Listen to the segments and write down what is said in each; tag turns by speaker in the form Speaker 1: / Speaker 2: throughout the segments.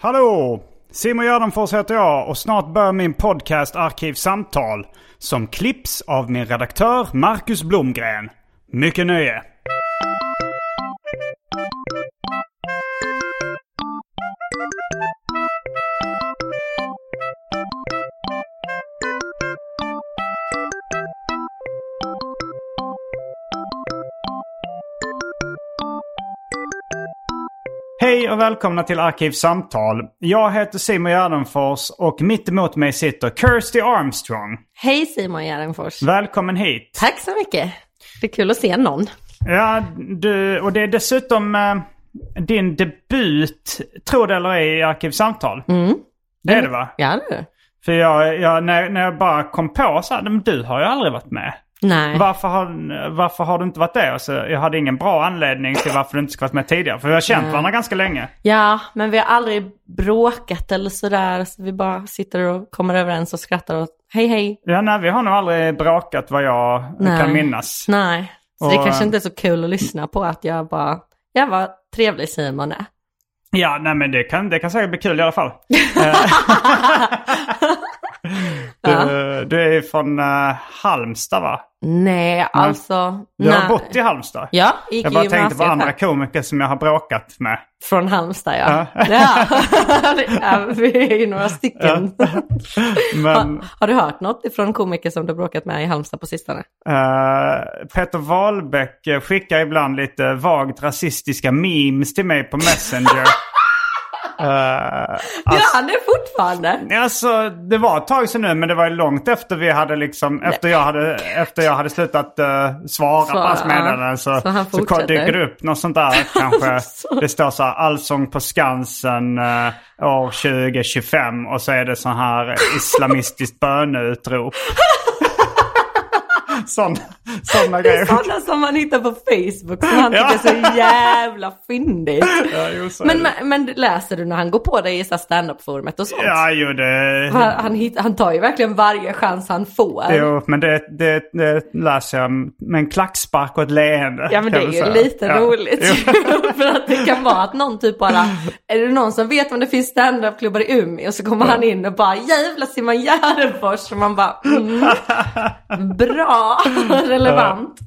Speaker 1: Hallå! Simon Gärdenfors heter jag och snart börjar min podcast Arkivsamtal som klipps av min redaktör Marcus Blomgren. Mycket nöje! Hej och välkomna till Arkivsamtal. Jag heter Simon Gärdenfors och mitt emot mig sitter Kirsty Armstrong.
Speaker 2: Hej Simon Gärdenfors.
Speaker 1: Välkommen hit.
Speaker 2: Tack så mycket. Det är kul att se någon.
Speaker 1: Ja, du, och det är dessutom eh, din debut, tro det eller ej, i Arkivsamtal. Det är det va?
Speaker 2: Ja, det är det.
Speaker 1: För jag, jag, när, när jag bara kom på så här, men du har ju aldrig varit med.
Speaker 2: Nej.
Speaker 1: Varför har, varför har du inte varit det? Alltså, jag hade ingen bra anledning till varför du inte ska varit med tidigare. För vi har känt varandra ganska länge.
Speaker 2: Ja, men vi har aldrig bråkat eller sådär. Så vi bara sitter och kommer överens och skrattar och hej hej.
Speaker 1: Ja, nej, vi har nog aldrig bråkat vad jag
Speaker 2: Nej.
Speaker 1: kan minnas.
Speaker 2: Nej, så
Speaker 1: Och,
Speaker 2: det kanske
Speaker 1: eh,
Speaker 2: inte är så kul att lyssna på att jag bara, jag var trevlig Simon är.
Speaker 1: Ja, nej men det kan, det kan säkert bli kul i alla fall. Eh, du, du är ju från eh, Halmstad va?
Speaker 2: Nej, alltså.
Speaker 1: Du
Speaker 2: nej.
Speaker 1: har bott i Halmstad?
Speaker 2: Ja, gick
Speaker 1: Jag
Speaker 2: i
Speaker 1: bara tänkte
Speaker 2: gymnasiet
Speaker 1: på andra
Speaker 2: här.
Speaker 1: komiker som jag har bråkat med.
Speaker 2: Från Halmstad ja. ja. ja. Vi är ju några stycken.
Speaker 1: Men
Speaker 2: Har, har du hört något ifrån komiker som du har bråkat med i Halmstad på sistone?
Speaker 1: eh, Peter Wahlbeck eh, skickar ibland lite vagt rasistiska memes till mig på Messenger.
Speaker 2: Gör han det fortfarande?
Speaker 1: Alltså det var ett tag sedan nu men det var ju långt efter vi hade liksom, efter jag hade, efter jag hade slutat eh, svara på
Speaker 2: Svara,
Speaker 1: hans meddelanden så,
Speaker 2: ja. Så han
Speaker 1: så
Speaker 2: fortsätter.
Speaker 1: dyker det upp något sånt där kanske. Det står så här Allsång på Skansen eh, år 2025 och så är det så här islamistiskt böneutrop. Sån, såna
Speaker 2: Det är
Speaker 1: grejer.
Speaker 2: sådana som man hittar på Facebook som han
Speaker 1: Ja.
Speaker 2: tycker är så jävla fyndigt.
Speaker 1: Ja, jo, så är
Speaker 2: Men,
Speaker 1: det.
Speaker 2: men, men läser du när han går på dig i så här standup-forumet och sånt?
Speaker 1: Ja, jo det...
Speaker 2: Han, han, hitt- han tar ju verkligen varje chans han får.
Speaker 1: Jo, men det, det, det läser jag med en klackspark och ett leende.
Speaker 2: Ja men det
Speaker 1: kan
Speaker 2: är
Speaker 1: jag
Speaker 2: ju
Speaker 1: säga.
Speaker 2: lite
Speaker 1: Ja.
Speaker 2: roligt.
Speaker 1: Jo.
Speaker 2: För att det kan vara att någon typ bara, är det någon som vet om det finns standup-klubbar i Umeå? Och så kommer han in och bara, jävla Simon Gärdenfors. Och man bara, mm, bra, relevant.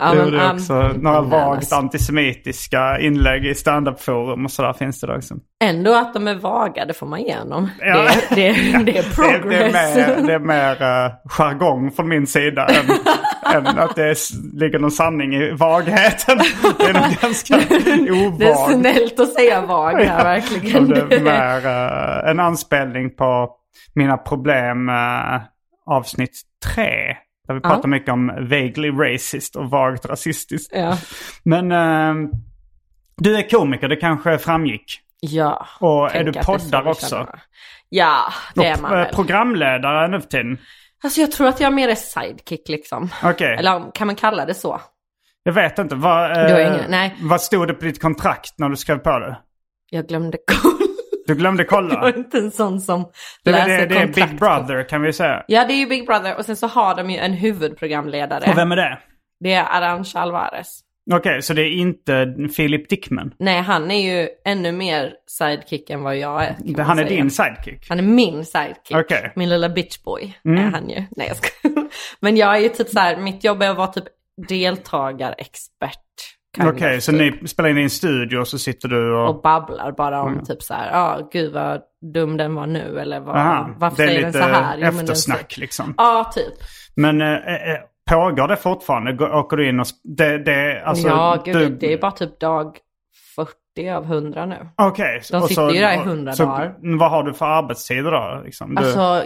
Speaker 2: Ja,
Speaker 1: Jo,
Speaker 2: men,
Speaker 1: det är
Speaker 2: um,
Speaker 1: också några vagt
Speaker 2: alltså,
Speaker 1: antisemitiska inlägg i standup-forum och sådär finns det då också.
Speaker 2: Ändå att de är vaga, det får man igenom.
Speaker 1: Ja.
Speaker 2: Det, det, det är
Speaker 1: Det, det är
Speaker 2: progress.
Speaker 1: mer, det är mer eh, jargong från min sida än, än att det s- ligger någon sanning i vagheten. Det är nog ganska
Speaker 2: Det är
Speaker 1: ovagt.
Speaker 2: snällt att säga vag här verkligen.
Speaker 1: Och Det är mer eh, en anspelning på mina problem eh, avsnitt tre. Där vi pratar mycket om vaguely racist och vagt rasistiskt.
Speaker 2: Ja.
Speaker 1: Men eh, du är komiker, det kanske framgick.
Speaker 2: ja.
Speaker 1: Och är
Speaker 2: tänk
Speaker 1: du
Speaker 2: att det så
Speaker 1: poddar
Speaker 2: vi
Speaker 1: också?
Speaker 2: känner. Ja, det är man
Speaker 1: Och, eh,
Speaker 2: väl.
Speaker 1: Programledare nu för tiden.
Speaker 2: Alltså jag tror att jag är mer är sidekick liksom.
Speaker 1: Okej,
Speaker 2: Eller kan man kalla det så?
Speaker 1: jag vet inte. Vad, eh,
Speaker 2: Du har ingen- nej.
Speaker 1: vad stod det på ditt kontrakt när du skrev på det?
Speaker 2: Jag glömde kolla.
Speaker 1: Du glömde
Speaker 2: Jag
Speaker 1: kolla.
Speaker 2: är inte en sån som
Speaker 1: Det, är
Speaker 2: läser
Speaker 1: det, det är
Speaker 2: kontrakt.
Speaker 1: Big Brother kan vi säga.
Speaker 2: Ja, det är ju Big Brother och sen så har de ju en huvudprogramledare.
Speaker 1: Och vem är det?
Speaker 2: Det är Arantxa Alvarez.
Speaker 1: Okej, så det är inte Philip Dickman.
Speaker 2: Nej, han är ju ännu mer sidekick än vad jag är. kan man
Speaker 1: Han är
Speaker 2: säga.
Speaker 1: din sidekick.
Speaker 2: Han är min sidekick.
Speaker 1: Okej. Mm.
Speaker 2: Min lilla bitchboy är han ju. Nej, jag skojar. Men jag är ju typ så här, mitt jobb är att vara typ deltagarexpert. kind
Speaker 1: Okej,
Speaker 2: of,
Speaker 1: så
Speaker 2: typ.
Speaker 1: ni spelar in i en studio och så sitter du och...
Speaker 2: Och babblar bara om
Speaker 1: Mm.
Speaker 2: typ så här, ja gud vad dum den var nu eller vad,
Speaker 1: Aha,
Speaker 2: varför
Speaker 1: det är
Speaker 2: säger den
Speaker 1: lite
Speaker 2: så här? Jo, men den
Speaker 1: eftersnack
Speaker 2: säger-
Speaker 1: liksom.
Speaker 2: Ja, typ.
Speaker 1: Men eh, eh, pågår det fortfarande? Går- Åker du in och... sp- Det, det, alltså,
Speaker 2: ja, gud,
Speaker 1: du-
Speaker 2: det är bara typ dag 40 av 100 nu.
Speaker 1: Okej.
Speaker 2: De
Speaker 1: och
Speaker 2: sitter ju där i 100
Speaker 1: så,
Speaker 2: dagar.
Speaker 1: Vad har du för arbetstider då? Liksom? Du,
Speaker 2: Alltså,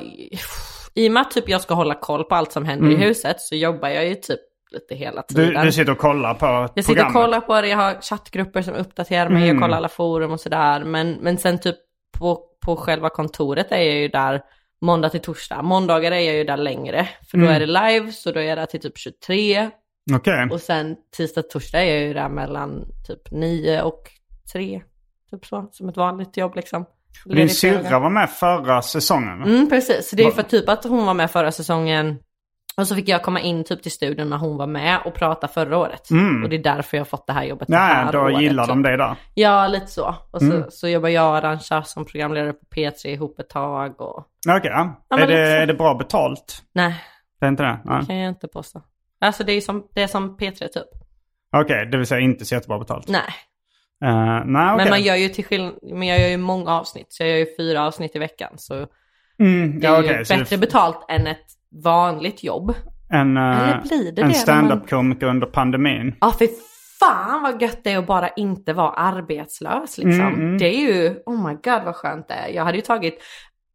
Speaker 2: i och med att typ jag ska hålla koll på allt som händer i huset så jobbar jag ju typ lite hela
Speaker 1: Mm. du,
Speaker 2: tiden.
Speaker 1: du sitter och kollar på
Speaker 2: jag sitter och
Speaker 1: programmet. Mm.
Speaker 2: kollar på det, jag har chattgrupper som uppdaterar mig, jag kollar alla forum och sådär. Men, men sen typ på, på själva kontoret är jag ju där måndag till torsdag. Måndagar är jag ju där längre, för då
Speaker 1: Mm.
Speaker 2: är det live, så då är jag där till typ 23.
Speaker 1: Okej.
Speaker 2: Och sen tisdag till torsdag är jag ju där mellan typ 9 och 3. Typ så, som ett vanligt jobb liksom.
Speaker 1: Din
Speaker 2: Ledigt fredag.
Speaker 1: syrra var med förra säsongen.
Speaker 2: Mm, precis. Så Det är ju för typ att hon var med förra säsongen. Och så fick jag komma in typ till studion när hon var med och prata förra året. Och det är därför jag har fått det här jobbet det
Speaker 1: Mm. Nej,
Speaker 2: här
Speaker 1: då
Speaker 2: året,
Speaker 1: gillar
Speaker 2: typ.
Speaker 1: de Mm. dig där.
Speaker 2: Ja, lite så. Och så, så jobbar jag och Arantxa som programledare på P3 ihop ett tag och...
Speaker 1: Okej.
Speaker 2: men liksom-
Speaker 1: är, det,
Speaker 2: lite så.
Speaker 1: är det bra betalt?
Speaker 2: Nej,
Speaker 1: Det är inte det? Nej. Okej,
Speaker 2: kan jag inte påstå. Alltså det är som, det är som P3 typ.
Speaker 1: det vill säga inte så jättebra betalt.
Speaker 2: Nej,
Speaker 1: Eh, nej,
Speaker 2: men
Speaker 1: okej.
Speaker 2: man gör ju till skillnad, men jag gör ju många avsnitt. Så jag gör ju fyra avsnitt i veckan. Så
Speaker 1: Mm,
Speaker 2: det
Speaker 1: ja,
Speaker 2: är
Speaker 1: okej,
Speaker 2: ju
Speaker 1: så
Speaker 2: bättre betalt än ett vanligt jobb.
Speaker 1: En, eh,
Speaker 2: Eller blir det
Speaker 1: en
Speaker 2: det när man-
Speaker 1: stand-up-komiker under pandemin.
Speaker 2: Ja, för fan vad gött det är att bara inte vara arbetslös liksom.
Speaker 1: Mm, mm.
Speaker 2: Det är ju, oh my god vad skönt det är. Jag hade ju tagit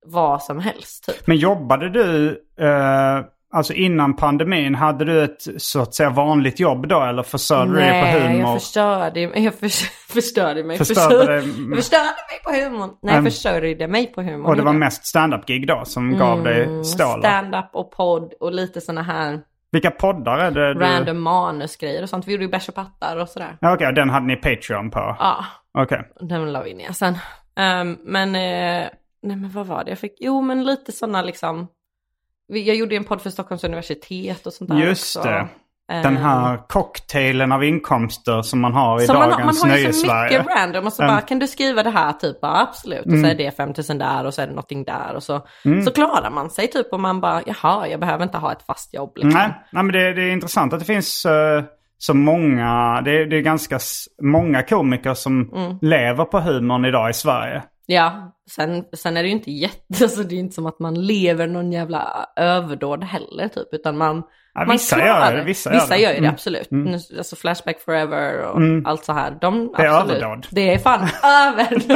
Speaker 2: vad som helst typ.
Speaker 1: Men jobbade du, eh, alltså innan pandemin, hade du ett så att säga vanligt jobb då? Eller försörjde du dig på
Speaker 2: Nej,
Speaker 1: humor?
Speaker 2: jag förstörde, mig- jag förs- förstörde mig.
Speaker 1: Förstörde
Speaker 2: Försör-
Speaker 1: dig-
Speaker 2: jag förstörde mig på humorn. Nej,
Speaker 1: Mm.
Speaker 2: jag försörjde mig på humorn.
Speaker 1: Och det var mest stand-up-gig då som gav
Speaker 2: Mm,
Speaker 1: dig stålar.
Speaker 2: Stand-up och podd och lite sådana här
Speaker 1: Vilka poddar är det du...
Speaker 2: random manusgrejer och sånt. Vi gjorde ju bärs och pattar och sådär.
Speaker 1: Ja, Okej, den hade ni Patreon på.
Speaker 2: Ja,
Speaker 1: Okej.
Speaker 2: den la vi ner sen. Ehm, men, eh, nej men vad var det jag fick? Jo men lite sådana liksom. vi- Jag gjorde ju en podd för Stockholms universitet och sånt där
Speaker 1: Just
Speaker 2: också.
Speaker 1: det.
Speaker 2: Ehm,
Speaker 1: Den här cocktailen av inkomster som man har i
Speaker 2: så man, har- man
Speaker 1: dagens
Speaker 2: har ju så
Speaker 1: Nöjesverige. Mm.
Speaker 2: mycket random och så bara kan du skriva det här typ, ja absolut. Och så är det 5000 där och så är det någonting där och så,
Speaker 1: Mm.
Speaker 2: så klarar man sig typ och man bara jaha jag behöver inte ha ett fast jobb liksom.
Speaker 1: Nej, nej men det, det är intressant att det finns eh, så många, det, det är ganska s- många komiker som
Speaker 2: Mm.
Speaker 1: lever på humorn idag i Sverige.
Speaker 2: Ja, sen, sen är det ju inte jätte, så det är ju inte som att man lever någon jävla överdåd heller typ, utan man,
Speaker 1: Ja,
Speaker 2: man
Speaker 1: vissa
Speaker 2: klarar
Speaker 1: gör det, vissa gör
Speaker 2: vissa
Speaker 1: det.
Speaker 2: gör ju det,
Speaker 1: Mm.
Speaker 2: absolut. Nu, Alltså Flashback Forever och allt så här. De,
Speaker 1: Det är
Speaker 2: absolut,
Speaker 1: överdåd.
Speaker 2: Det är fan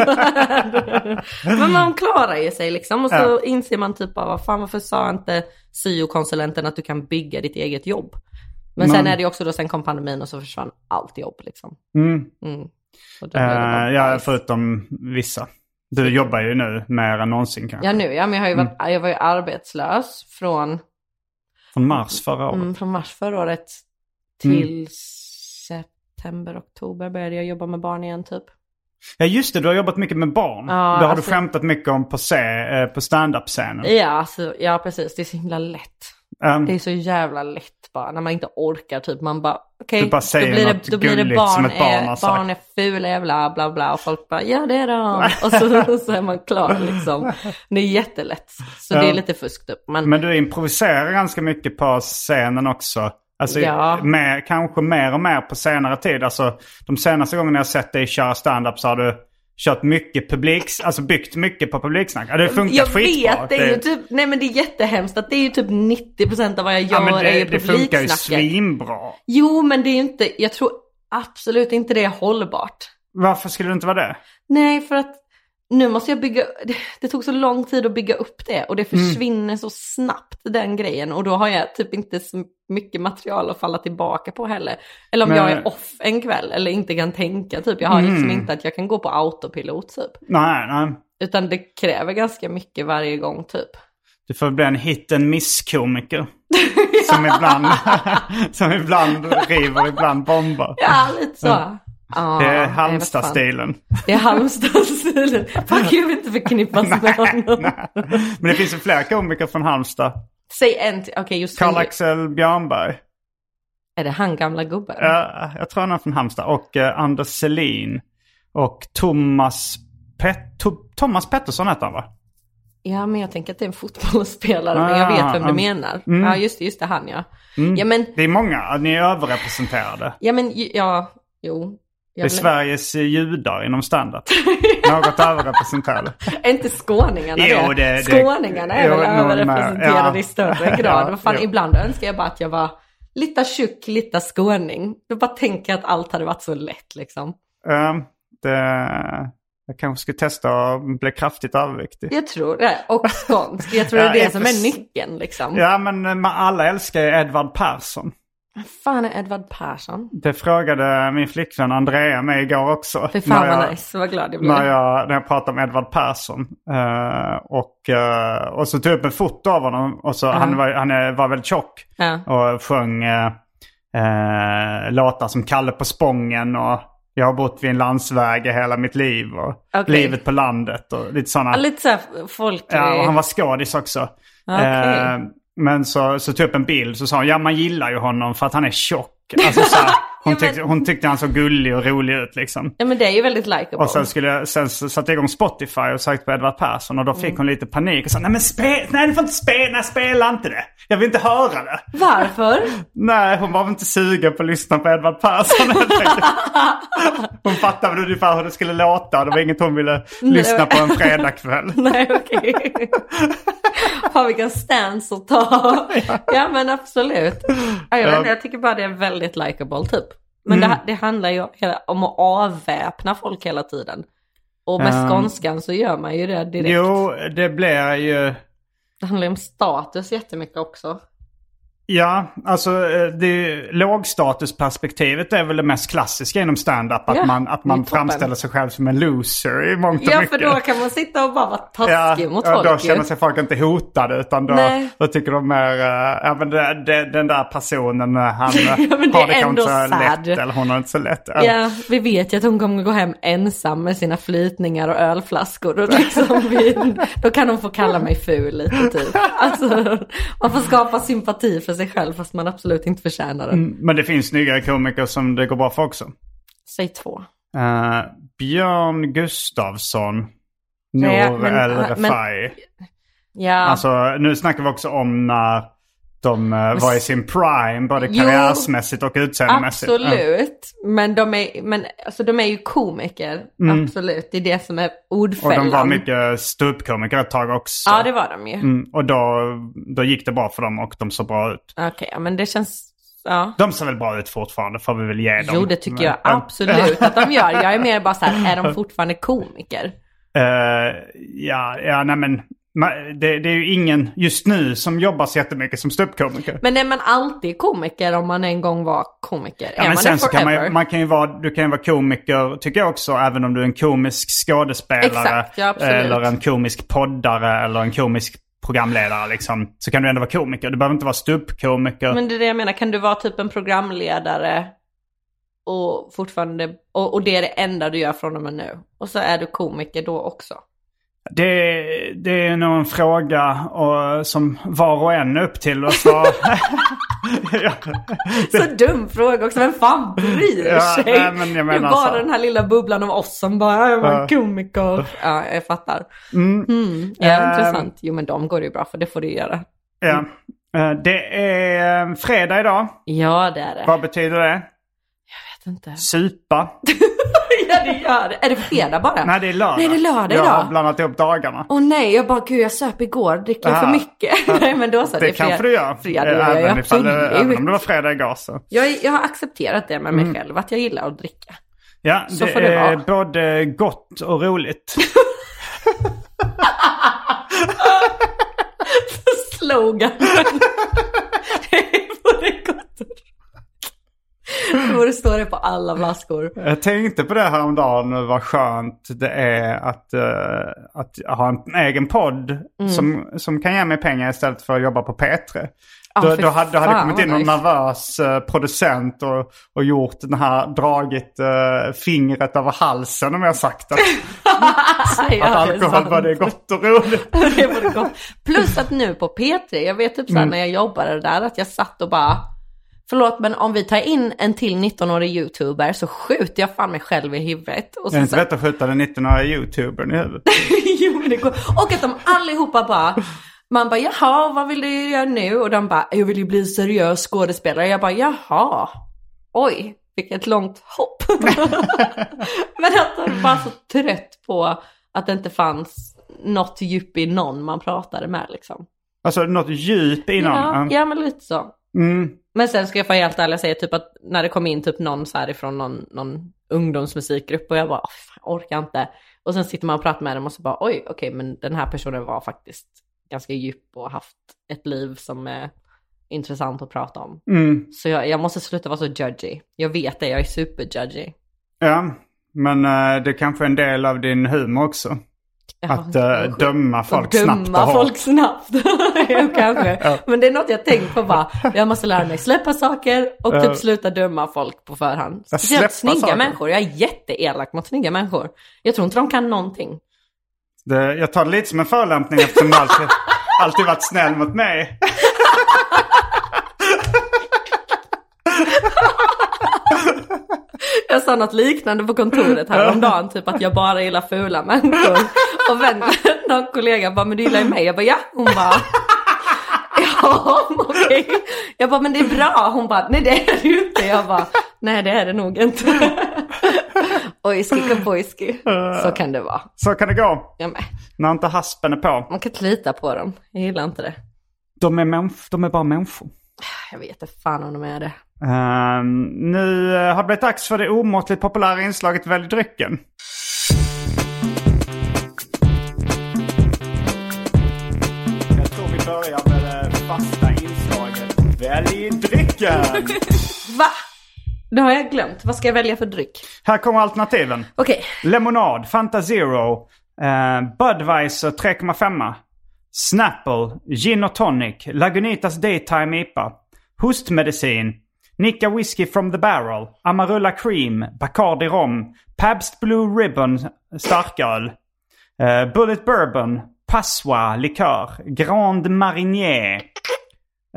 Speaker 2: överdåd. Men man klarar ju sig liksom och så
Speaker 1: Ja.
Speaker 2: inser man typ av, vad fan varför sa inte syokonsulenten att du kan bygga ditt eget jobb? Men sen
Speaker 1: Men-
Speaker 2: är det ju också då, sen kom pandemin och så försvann allt jobb liksom.
Speaker 1: Mm.
Speaker 2: Och då blev det bara
Speaker 1: Eh, ja,
Speaker 2: nice.
Speaker 1: förutom vissa. Du jobbar ju nu mer än någonsin kanske.
Speaker 2: Ja nu ja, men jag, har ju varit,
Speaker 1: Mm.
Speaker 2: jag var ju arbetslös från,
Speaker 1: Från mars förra året.
Speaker 2: mm, från mars förra året till
Speaker 1: Mm.
Speaker 2: september, oktober började jag jobba med barn igen typ.
Speaker 1: Ja just det, du har jobbat mycket med barn.
Speaker 2: Ja,
Speaker 1: det har
Speaker 2: alltså-
Speaker 1: du skämtat mycket om på, se- eh, på stand-up-scenen.
Speaker 2: Ja, alltså, ja precis, det är så himla lätt.
Speaker 1: Ehm,
Speaker 2: Det är så jävla lätt bara när man inte orkar typ. Man bara okej,
Speaker 1: Du bara
Speaker 2: då
Speaker 1: säger
Speaker 2: blir
Speaker 1: något
Speaker 2: det, då blir det
Speaker 1: gulligt som
Speaker 2: barn,
Speaker 1: ett barn har
Speaker 2: är,
Speaker 1: sagt.
Speaker 2: barn är fula jävla bla bla och folk bara ja det är de. Och så, så är man klar liksom. Det är jättelätt. Så det
Speaker 1: Ja.
Speaker 2: är lite fusk typ. Men,
Speaker 1: Men du improviserar ganska mycket på scenen också. Alltså
Speaker 2: Ja.
Speaker 1: med, kanske mer och mer på senare tid. Alltså de senaste gångerna jag sett dig köra stand-up så har du kört mycket publiks... Alltså byggt mycket på publiksnack. Ja, det har funkat
Speaker 2: Jag
Speaker 1: skitbra.
Speaker 2: vet, det är ju typ, nej men det är jättehemskt att det är ju typ 90% av vad jag gör
Speaker 1: Ja, men
Speaker 2: är
Speaker 1: det,
Speaker 2: ju
Speaker 1: det funkar ju
Speaker 2: publiksnacket.
Speaker 1: svinbra.
Speaker 2: Jo men det är ju inte, jag tror absolut inte det är hållbart.
Speaker 1: Varför skulle det inte vara det?
Speaker 2: Nej för att nu måste jag bygga, det, det tog så lång tid att bygga upp det och det
Speaker 1: Mm.
Speaker 2: försvinner så snabbt den grejen och då har jag typ inte så mycket material att falla tillbaka på heller. Eller om
Speaker 1: Men- Mm.
Speaker 2: jag är off en kväll eller inte kan tänka typ, jag har liksom inte att jag kan gå på autopilot typ.
Speaker 1: Nej, nej.
Speaker 2: Utan det kräver ganska mycket varje gång typ.
Speaker 1: Du får bli en hit and miss-komiker. Som ibland, som ibland river, ibland bombar.
Speaker 2: Ja, lite så. Ah,
Speaker 1: Det är
Speaker 2: nej, vad fan.
Speaker 1: Halmstad-stilen.
Speaker 2: Det är Halmstadstilen. Fan gud, vi inte förknippas med honom.
Speaker 1: Men det finns ju flera komiker från Halmstad.
Speaker 2: Säg en till. Okej, just nu.
Speaker 1: Karl-Axel Björnberg.
Speaker 2: Är det han gamla gubben?
Speaker 1: Ja, jag tror han är från Halmstad. Och eh, Anders Selin. Och Thomas, Pet- To- Thomas Pettersson heter han va?
Speaker 2: Ja, men jag tänker att det är en fotbollsspelare, men jag vet vem du
Speaker 1: Ah, Mm.
Speaker 2: menar. Ja, just det, just det, han ja. Ja, men,
Speaker 1: Det är många, ni är överrepresenterade.
Speaker 2: ja, men, ju- ja, jo.
Speaker 1: Det är
Speaker 2: Jag blev,
Speaker 1: Sveriges eh, judar inom standard. Något överrepresenterade.
Speaker 2: är inte skåningarna
Speaker 1: Jo,
Speaker 2: det?
Speaker 1: det- det-
Speaker 2: skåningarna är
Speaker 1: jo,
Speaker 2: väl
Speaker 1: någon med.
Speaker 2: överrepresenterade
Speaker 1: Ja.
Speaker 2: i större grad.
Speaker 1: Ja,
Speaker 2: Vad fan,
Speaker 1: jo.
Speaker 2: ibland önskar jag bara att jag var lite tjock, lite skåning. Jag bara tänker att allt hade varit så lätt liksom.
Speaker 1: Ehm, det, jag kanske skulle testa att bli kraftigt överviktig.
Speaker 2: Jag tror det. Och skånsk. Jag tror det
Speaker 1: Ja,
Speaker 2: är det
Speaker 1: jag
Speaker 2: som
Speaker 1: förs-
Speaker 2: är nyckeln liksom.
Speaker 1: Ja, men eh, man- alla älskar ju Edvard Persson.
Speaker 2: Vad fan är Edvard Persson?
Speaker 1: Det frågade min flickvän Andrea mig igår också.
Speaker 2: Fy fan
Speaker 1: när jag,
Speaker 2: vad nice, vad glad jag blev.
Speaker 1: När jag, när jag pratade om Edvard Persson. Eh, och, eh, och så tog jag upp ett foto av honom. Och så, han, var, han eh, var väldigt tjock.
Speaker 2: Ja.
Speaker 1: Och sjöng eh, eh, låtar som Kalle på Spången och Jag har bott vid en landsväg i hela mitt liv. Och
Speaker 2: Okej.
Speaker 1: Livet på landet och lite sådana.
Speaker 2: Ja, Lite såhär folk...
Speaker 1: Ja, och han var skådis också.
Speaker 2: Okej.
Speaker 1: Eh, men så, så tog jag upp en bild så sa hon, ja man gillar ju honom för att han är tjock. Alltså, så här, hon, tyckte, hon tyckte han såg gullig och rolig ut liksom.
Speaker 2: Ja men det är ju väldigt likeable.
Speaker 1: Och sen, skulle, jag- sen så satte jag igång Spotify och sökte på Edvard Persson och då fick
Speaker 2: Mm.
Speaker 1: hon lite panik och sa nej men spe, nej du får inte spela, nej spela inte det. Jag vill inte höra det.
Speaker 2: Varför?
Speaker 1: Nej, hon var väl inte sugen på att lyssna på Edvard Persson helt enkelt. Hon fattade väl ungefär hur det skulle låta. Det var inget hon
Speaker 2: Mm,
Speaker 1: ville lyssna på en fredagkväll.
Speaker 2: Nej okej. Fan vilken stance att ta. ja men absolut. Ja, jag, vet
Speaker 1: Ja. Mm.
Speaker 2: inte, jag tycker bara det är väldigt likeable typ. Men det, det handlar ju hela- om att avväpna folk hela tiden. Och med
Speaker 1: Ja.
Speaker 2: skånskan så gör man ju det direkt.
Speaker 1: Jo, det blir ju...
Speaker 2: Det handlar ju om status jättemycket också.
Speaker 1: Ja, alltså eh, det lågstatusperspektivet är väl det mest klassiska inom stand-up. Att
Speaker 2: Ja,
Speaker 1: man, att
Speaker 2: det är
Speaker 1: man
Speaker 2: toppen.
Speaker 1: framställer sig själv som en loser i mångt och
Speaker 2: Ja
Speaker 1: mycket.
Speaker 2: för då kan man sitta och bara vara taskig mot
Speaker 1: ja,
Speaker 2: folk
Speaker 1: då
Speaker 2: ju.
Speaker 1: känner sig folk inte hotade utan då,
Speaker 2: Nej.
Speaker 1: då tycker de mer, eh, ja men det, det, den där personen eh, han eh,
Speaker 2: Ja, men det
Speaker 1: har
Speaker 2: är
Speaker 1: det kanske inte
Speaker 2: ändå
Speaker 1: så
Speaker 2: sad.
Speaker 1: lätt eller hon har inte så lätt.
Speaker 2: Ja, vi vet ju att hon kommer gå hem ensam med sina flytningar och ölflaskor. Och liksom vi, då kan hon få kalla mig ful lite typ. Alltså, man får skapa sympati för sig själv fast man absolut inte förtjänar den.
Speaker 1: Men det finns snyggare komiker som det går bra för också.
Speaker 2: Säg två.
Speaker 1: Eh, Björn Gustafsson, Nour
Speaker 2: Nej, men-
Speaker 1: El
Speaker 2: men-
Speaker 1: Refai.
Speaker 2: Ja,
Speaker 1: Alltså nu snackar vi också om när de eh, var i sin prime, både
Speaker 2: Jo.
Speaker 1: karriärsmässigt och utseendemässigt. Ja.
Speaker 2: absolut. Men, de är, men alltså, de är ju komiker. Absolut, det är det som är
Speaker 1: Mm. Och
Speaker 2: ordfällan.
Speaker 1: de var mycket ståuppkomiker ett tag också.
Speaker 2: Ja, det var de ju.
Speaker 1: Mm, och då, då gick det bra för dem och de såg bra ut.
Speaker 2: Okej, ja, men det känns... Ja.
Speaker 1: De ser väl bra ut fortfarande får vi väl ge dem.
Speaker 2: Jo, det tycker
Speaker 1: Men-
Speaker 2: jag absolut att de gör. Jag är mer bara så här, är de fortfarande komiker?
Speaker 1: Eh, ja, ja, nej men ma- det, det är ju ingen just nu som jobbar så jättemycket som ståuppkomiker.
Speaker 2: Men är man alltid komiker om man en gång var komiker?
Speaker 1: Ja,
Speaker 2: är
Speaker 1: men
Speaker 2: man
Speaker 1: sen
Speaker 2: det
Speaker 1: så kan man, ju,
Speaker 2: forever?
Speaker 1: man kan ju vara, du kan ju vara komiker, tycker jag också, även om du är en komisk skådespelare.
Speaker 2: Exakt, ja, absolut.
Speaker 1: eller en komisk poddare eller en komisk programledare liksom. Så kan du ändå vara komiker. Du behöver inte vara ståuppkomiker.
Speaker 2: Men det är det jag menar, kan du vara typ en programledare och fortfarande, och, och det är det enda du gör från och med nu. Och så är du komiker då också.
Speaker 1: Det, det är nog en fråga och, som var och en är upp till att svara.
Speaker 2: Så dum fråga också, vem fan bryr
Speaker 1: Ja,
Speaker 2: sig?
Speaker 1: nej, men jag
Speaker 2: det
Speaker 1: menar
Speaker 2: är bara
Speaker 1: så.
Speaker 2: den här lilla bubblan av oss som bara, är man
Speaker 1: Ja.
Speaker 2: komiker? Ja, jag fattar. Mm, ja,
Speaker 1: Ehm.
Speaker 2: intressant. Jo men de går det ju bra för, det får du ju göra.
Speaker 1: ja. Eh, Det är eh, fredag idag.
Speaker 2: Ja, det är det.
Speaker 1: Vad betyder det?
Speaker 2: Jag vet inte.
Speaker 1: Supa?
Speaker 2: ja, det gör det. Är det fredag bara?
Speaker 1: Nej, det är lördag.
Speaker 2: Nej, det är lördag
Speaker 1: Jag har
Speaker 2: idag.
Speaker 1: blandat ihop dagarna.
Speaker 2: Åh nej, jag bara gud jag söp igår, dricker
Speaker 1: Ah.
Speaker 2: för mycket. nej men då så,
Speaker 1: Det kanske du gör.
Speaker 2: Fredag
Speaker 1: Eh,
Speaker 2: gör jag
Speaker 1: även, ifall det, även
Speaker 2: absolut.
Speaker 1: om det var fredag igår så.
Speaker 2: Jag, är- jag har accepterat det med
Speaker 1: Mm.
Speaker 2: mig själv, att jag gillar att dricka.
Speaker 1: Ja,
Speaker 2: Så
Speaker 1: det,
Speaker 2: får det
Speaker 1: är
Speaker 2: vara.
Speaker 1: både gott och roligt.
Speaker 2: Slogan. Både gott och roligt. Borde stå det på alla flaskor.
Speaker 1: Jag tänkte på det här om dagen vad skönt det är att, eh,
Speaker 2: Mm.
Speaker 1: att ha en egen podd som, som kan ge mig pengar istället för att jobba på P3.
Speaker 2: Ja,
Speaker 1: då,
Speaker 2: för
Speaker 1: då hade, då hade det
Speaker 2: fan,
Speaker 1: kommit
Speaker 2: vad
Speaker 1: in någon
Speaker 2: nice.
Speaker 1: nervös eh, producent och, och gjort den här, dragit eh, fingret över halsen om jag sagt att,
Speaker 2: Nej,
Speaker 1: att
Speaker 2: ja, det är
Speaker 1: alkohol
Speaker 2: sant.
Speaker 1: var det gott och roligt.
Speaker 2: Det var det gott. Plus att nu på P3, jag vet typ
Speaker 1: Mm.
Speaker 2: såhär när jag jobbade där att jag satt och bara Förlåt men om vi tar in en till 19-årig youtuber så skjuter jag fan mig själv i huvudet. Och
Speaker 1: Det är
Speaker 2: så,
Speaker 1: inte lätt att skjuta den 19-åriga youtubern i huvudet.
Speaker 2: jo, men det går. Och att de allihopa bara, man bara jaha vad vill du göra nu? Och de bara jag vill ju bli seriös skådespelare. Jag bara jaha, oj vilket långt hopp. men att de var så trött på att det inte fanns något djup i någon man pratade med liksom.
Speaker 1: Alltså något djup i någon.
Speaker 2: Ja, ja men lite så.
Speaker 1: Mm.
Speaker 2: Men sen ska jag vara helt ärlig säga typ att när det kom in typ någon så här ifrån någon, någon ungdomsmusikgrupp och jag bara "Åh, fan, orkar inte. Och sen sitter man och pratar med dem och så bara oj okej men den här personen var faktiskt ganska djup och haft ett liv som är intressant att prata om.
Speaker 1: Mm.
Speaker 2: Så jag, jag måste sluta vara så judgy. Jag vet det, jag är superjudgy.
Speaker 1: Ja, men eh, det är kanske är en del av din humor också.
Speaker 2: Ja,
Speaker 1: Att eh,
Speaker 2: kanske.
Speaker 1: döma folk snabbt och
Speaker 2: döma
Speaker 1: hårt.
Speaker 2: Alltså, folk snabbt. jo, kanske. Men det är något jag tänkt på bara. Jag måste lära mig släppa saker och
Speaker 1: Ja.
Speaker 2: typ sluta döma folk på förhand.
Speaker 1: släppa
Speaker 2: Speciellt snygga
Speaker 1: saker.
Speaker 2: människor. Jag är jätteelak mot snygga människor. Jag tror inte de kan någonting.
Speaker 1: Det, jag tar det lite som en förolämpning eftersom du alltid, alltid varit snäll mot mig.
Speaker 2: Jag sa något liknande på kontoret häromdagen, typ att jag bara gillar fula människor. Och vän, någon kollega bara, men du gillar ju mig. Jag bara, ja. Hon bara, ja, okej. Jag bara, men det är bra. Hon bara, nej det är det ju inte. Jag bara, nej det är det nog inte. Ojski kabojski. Så kan det vara.
Speaker 1: Så kan det gå
Speaker 2: Ja, men,
Speaker 1: när inte haspen är på.
Speaker 2: man kan inte lita på dem. Jag gillar inte det.
Speaker 1: De är, mänf- de är bara människor.
Speaker 2: Jag vet inte fan om de är det.
Speaker 1: Ehm, nu eh, har det blivit dags för det omåttligt populära inslaget Välj drycken. Jag tror vi börjar med det fasta inslaget Välj drycken.
Speaker 2: Va? Det har jag glömt. Vad ska jag välja för dryck?
Speaker 1: Här kommer alternativen.
Speaker 2: Okej.
Speaker 1: Lemonad, Fanta Zero, eh, Budweiser 3,5. Snapple, Gin och Tonic, Lagunitas Daytime IPA. Hostmedicin, Nika Whiskey from the Barrel, Amarula Cream, Bacardi Rom, Pabst Blue Ribbon starköl. Eh, Bullet Bourbon, Passoa likör, Grand Marinier.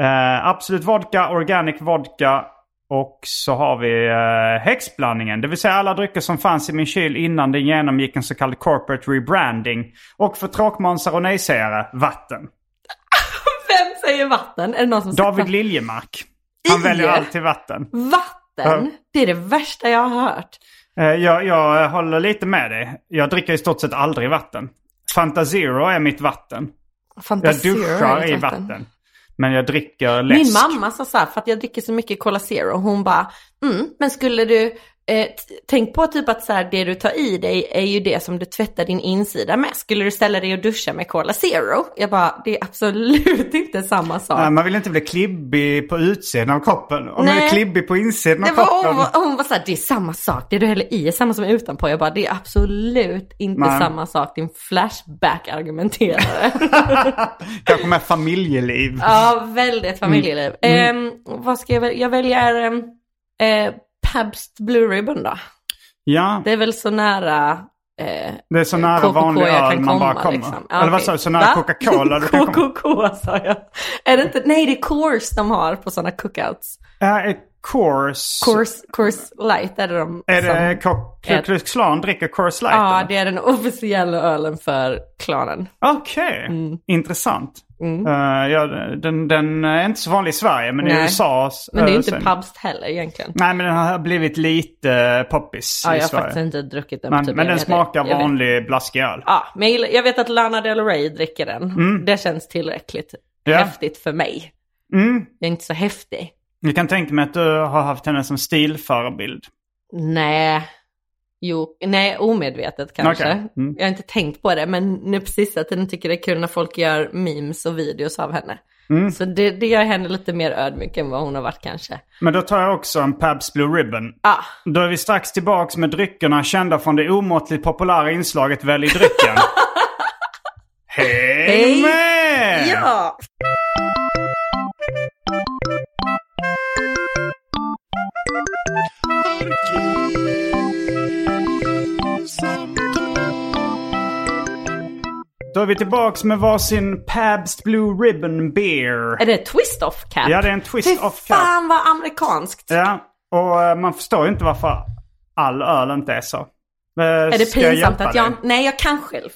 Speaker 1: Eh, Absolut Vodka, Organic Vodka och så har vi eh, häxblandningen. Det vill säga alla drycker som fanns i min kyl innan den genomgick en så kallad corporate rebranding. Och för tråkmånsar och nejsägare, vatten.
Speaker 2: Vem säger vatten? Är det någon som sagt
Speaker 1: David Liljemark. Han
Speaker 2: I-
Speaker 1: väljer alltid vatten.
Speaker 2: Vatten,
Speaker 1: Ja.
Speaker 2: det är det värsta jag har hört.
Speaker 1: Eh, jag, jag håller lite med dig. Jag dricker i stort sett aldrig vatten. Fanta Zero är mitt vatten. Jag
Speaker 2: Fantasera
Speaker 1: duschar
Speaker 2: i
Speaker 1: i vatten. Men jag dricker läsk.
Speaker 2: Min mamma sa så här, för att jag dricker så mycket Cola Zero, hon bara, mm, men skulle du, eh, t- tänk på typ att så här, det du tar i dig är ju det som du tvättar din insida med. Skulle du ställa dig och duscha med Cola Zero? Jag bara, det är absolut inte samma sak.
Speaker 1: Nej, man vill inte bli klibbig på utsidan av koppen. Om man
Speaker 2: Nej.
Speaker 1: är klibbig på insidan av
Speaker 2: det var,
Speaker 1: koppen.
Speaker 2: hon, var- hon var såhär, det är samma sak, det du häller i är samma som utanpå. Jag bara, det är absolut inte
Speaker 1: Nej.
Speaker 2: samma sak, din flashback-argumenterare.
Speaker 1: Kanske med familjeliv.
Speaker 2: Ja, väldigt familjeliv.
Speaker 1: Mm.
Speaker 2: Ehm, vad ska jag välja? Jag väljer ehm, eh, Pabst Blue Ribbon då.
Speaker 1: Ja,
Speaker 2: Det är väl så nära... Eh,
Speaker 1: det är så nära
Speaker 2: KKK
Speaker 1: vanlig
Speaker 2: jag
Speaker 1: öl
Speaker 2: kan
Speaker 1: man bara
Speaker 2: komma,
Speaker 1: kommer.
Speaker 2: liksom. Ja,
Speaker 1: Eller vad
Speaker 2: okej.
Speaker 1: sa du? Så nära
Speaker 2: Va?
Speaker 1: Coca-Cola du kan komma.
Speaker 2: KKK sa jag. Är det inte? Nej, det är Coors de har på sådana cookouts.
Speaker 1: Ja, eh, Coors.
Speaker 2: Coors, Coors Light är det de
Speaker 1: Är
Speaker 2: som...
Speaker 1: det Ko- Ku
Speaker 2: Ett.
Speaker 1: Klux Klan dricker Coors Light?
Speaker 2: Ja,
Speaker 1: eller?
Speaker 2: det är den officiella ölen för klanen.
Speaker 1: Okej,
Speaker 2: Mm.
Speaker 1: intressant. Eh, ja, den, den är inte så vanlig i Sverige men i
Speaker 2: Nej.
Speaker 1: USA.
Speaker 2: Men det är ju
Speaker 1: eh,
Speaker 2: inte
Speaker 1: sen-
Speaker 2: Pabst heller egentligen.
Speaker 1: Nej men den har blivit lite eh, poppis
Speaker 2: Ja,
Speaker 1: i
Speaker 2: jag har
Speaker 1: Sverige.
Speaker 2: faktiskt inte druckit den. på
Speaker 1: Men,
Speaker 2: typ
Speaker 1: men den
Speaker 2: evigheter.
Speaker 1: smakar
Speaker 2: Jag vet.
Speaker 1: vanlig blaskig öl.
Speaker 2: Ja, men jag, gillar- jag vet att Lana Del Rey dricker den. Det känns tillräckligt
Speaker 1: Mm. Ja. Mm.
Speaker 2: häftigt för mig. Jag är inte så häftig.
Speaker 1: Jag kan tänka mig att du har haft henne som stilförebild.
Speaker 2: Nej. Jo, nej, omedvetet kanske.
Speaker 1: Okej. Mm.
Speaker 2: Jag har inte tänkt på det, men nu på sista tiden tycker jag det är kul när folk gör memes och videos av henne.
Speaker 1: Mm.
Speaker 2: Så det, det gör henne lite mer ödmjuk än vad hon har varit kanske.
Speaker 1: Men då tar jag också en Pabst Blue Ribbon.
Speaker 2: Ja,
Speaker 1: Då är vi strax tillbaks med dryckerna kända från det omåttligt populära inslaget Välj drycken. Häng
Speaker 2: Hej.
Speaker 1: Eh. med!
Speaker 2: ja.
Speaker 1: Då är vi tillbaks med varsin Pabst Blue Ribbon Beer.
Speaker 2: Är det twist off cap?
Speaker 1: Ja, det är en twist
Speaker 2: Fy
Speaker 1: off cap.
Speaker 2: fan vad amerikanskt.
Speaker 1: Ja, och eh, man förstår ju inte varför all öl inte är så. Eh,
Speaker 2: Är det pinsamt att jag... Nej, jag kan själv.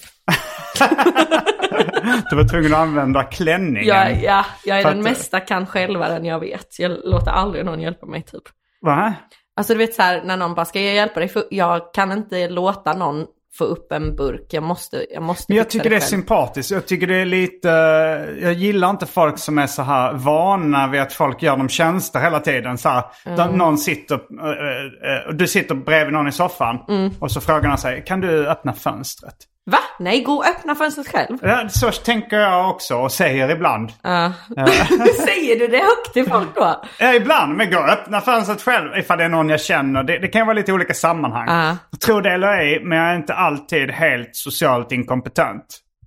Speaker 1: Du var tvungen att använda klänningen.
Speaker 2: Jag, ja, jag är
Speaker 1: Fattar.
Speaker 2: den mesta kan självaren jag vet. Jag låter aldrig någon hjälpa mig typ.
Speaker 1: Va?
Speaker 2: Alltså du vet så här när någon bara ska jag hjälpa dig? För jag kan inte låta någon få upp en burk. Jag måste, jag måste
Speaker 1: Men jag
Speaker 2: fixa
Speaker 1: tycker det är
Speaker 2: själv.
Speaker 1: sympatiskt. Jag tycker det är lite... eh, Jag gillar inte folk som är så här vana vid att folk gör dem tjänster hela tiden. Så här,
Speaker 2: Mm.
Speaker 1: där någon sitter... eh, eh, eh, Du sitter bredvid någon i soffan
Speaker 2: Mm.
Speaker 1: och så frågar någon sig, kan du öppna fönstret?
Speaker 2: Va? Nej, gå och öppna fönstret själv.
Speaker 1: Ja, Så tänker jag också och säger ibland.
Speaker 2: Ja. Säger du det högt till folk då?
Speaker 1: Ja, ibland. Men gå och öppna fönstret själv ifall det är någon jag känner. Det, det kan ju vara lite olika sammanhang.
Speaker 2: Ja.
Speaker 1: Tro det eller ej, men jag är inte alltid helt socialt inkompetent.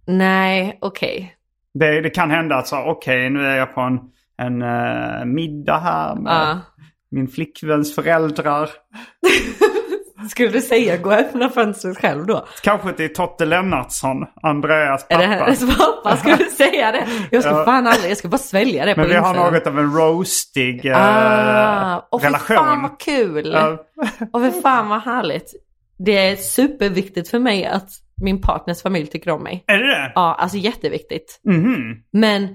Speaker 2: Nej, okej.
Speaker 1: Det, det kan hända att så, okej nu är jag på en, en eh, middag här med
Speaker 2: Ja.
Speaker 1: min flickväns föräldrar.
Speaker 2: Skulle du säga gå och öppna fönstret själv då?
Speaker 1: Kanske till Totte Lennartsson, Andreas
Speaker 2: Är
Speaker 1: pappa.
Speaker 2: det hennes pappa? Skulle du säga det? Jag ska
Speaker 1: Ja.
Speaker 2: fan aldrig, jag ska bara svälja det
Speaker 1: Men
Speaker 2: på
Speaker 1: vi har
Speaker 2: insidan.
Speaker 1: något av en roastig eh,
Speaker 2: Ah, och för fan
Speaker 1: relation.
Speaker 2: vad kul!
Speaker 1: Ja.
Speaker 2: Och för fan vad härligt. Det är superviktigt för mig att min partners familj tycker om mig.
Speaker 1: Är det det?
Speaker 2: Ja, alltså jätteviktigt.
Speaker 1: Mhm.
Speaker 2: Men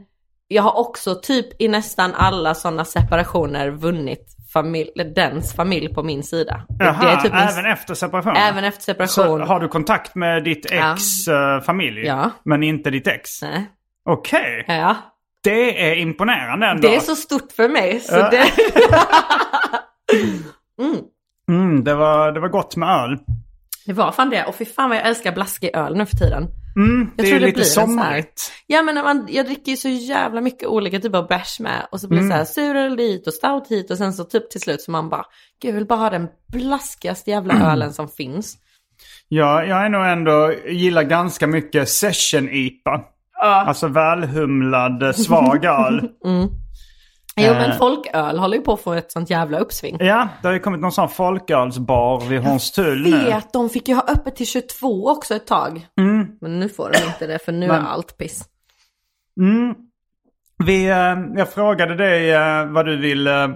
Speaker 2: jag har också typ i nästan alla sådana separationer vunnit familj, dens familj på min sida.
Speaker 1: Jaha,
Speaker 2: det är typ min,
Speaker 1: även efter separation?
Speaker 2: även efter
Speaker 1: så
Speaker 2: separation.
Speaker 1: har du kontakt med ditt
Speaker 2: Ja.
Speaker 1: ex eh, familj?
Speaker 2: Ja.
Speaker 1: Men inte ditt ex?
Speaker 2: Nej.
Speaker 1: Okej,
Speaker 2: Ja,
Speaker 1: det är imponerande ändå.
Speaker 2: det är så stort för mig. Så
Speaker 1: Ja.
Speaker 2: det...
Speaker 1: mm, det, var, det var gott med öl.
Speaker 2: det var fan det. Och fy fan vad jag älskar blaskig öl nu för tiden.
Speaker 1: Mm, det är
Speaker 2: tror
Speaker 1: ju
Speaker 2: det
Speaker 1: lite
Speaker 2: blir en sån här.
Speaker 1: somrigt.
Speaker 2: Ja men när man, jag dricker ju så jävla mycket olika typer av bärs med och så blir det så här suröl dit och stout hit och sen så typ till slut så man bara, gud jag vill bara ha den blaskigaste jävla ölen som finns.
Speaker 1: Ja, jag är nog ändå, gillar ganska mycket session-IPA. Alltså välhumlad, eh, svag öl.
Speaker 2: Jo men folköl håller ju på att få ett sånt jävla uppsving.
Speaker 1: Ja, det har ju kommit någon sån folkölsbar vid Hornstull nu.
Speaker 2: Vet, de fick ju ha öppet till 22 också ett tag. Men nu får de inte det för nu
Speaker 1: Men-
Speaker 2: är allt piss.
Speaker 1: Vi, eh, jag frågade dig eh, vad du vill eh,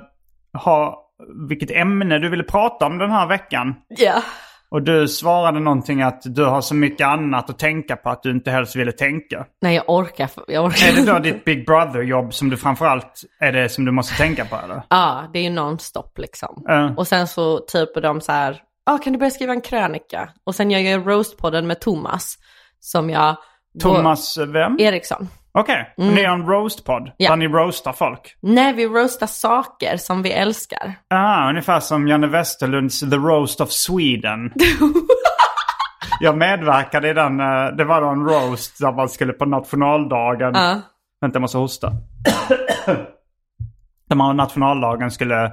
Speaker 1: ha, vilket ämne du ville prata om den här veckan.
Speaker 2: Ja.
Speaker 1: Och du svarade någonting att du har så mycket annat att tänka på att du inte helst ville tänka.
Speaker 2: Nej jag orkar, jag orkar.
Speaker 1: Är det då ditt Big Brother-jobb som du framförallt är det som du måste tänka på eller?
Speaker 2: Ja, det är ju nonstop liksom.
Speaker 1: Ja.
Speaker 2: Och sen så typ är de så här, ah, kan du börja skriva en krönika? Och sen gör jag ju roastpodden med Thomas. Som jag...
Speaker 1: Thomas, eh, vem?
Speaker 2: Eriksson.
Speaker 1: Okej, okay. ni har en roastpodd
Speaker 2: Mm. Ja.
Speaker 1: där ni roastar folk.
Speaker 2: Nej, vi roastar saker som vi älskar.
Speaker 1: Ah, ungefär som Janne Westerlunds The Roast of Sweden. Jag medverkade i den, eh, det var då en roast där man skulle på nationaldagen.
Speaker 2: Ja.
Speaker 1: Vänta, jag måste hosta. där man på nationaldagen skulle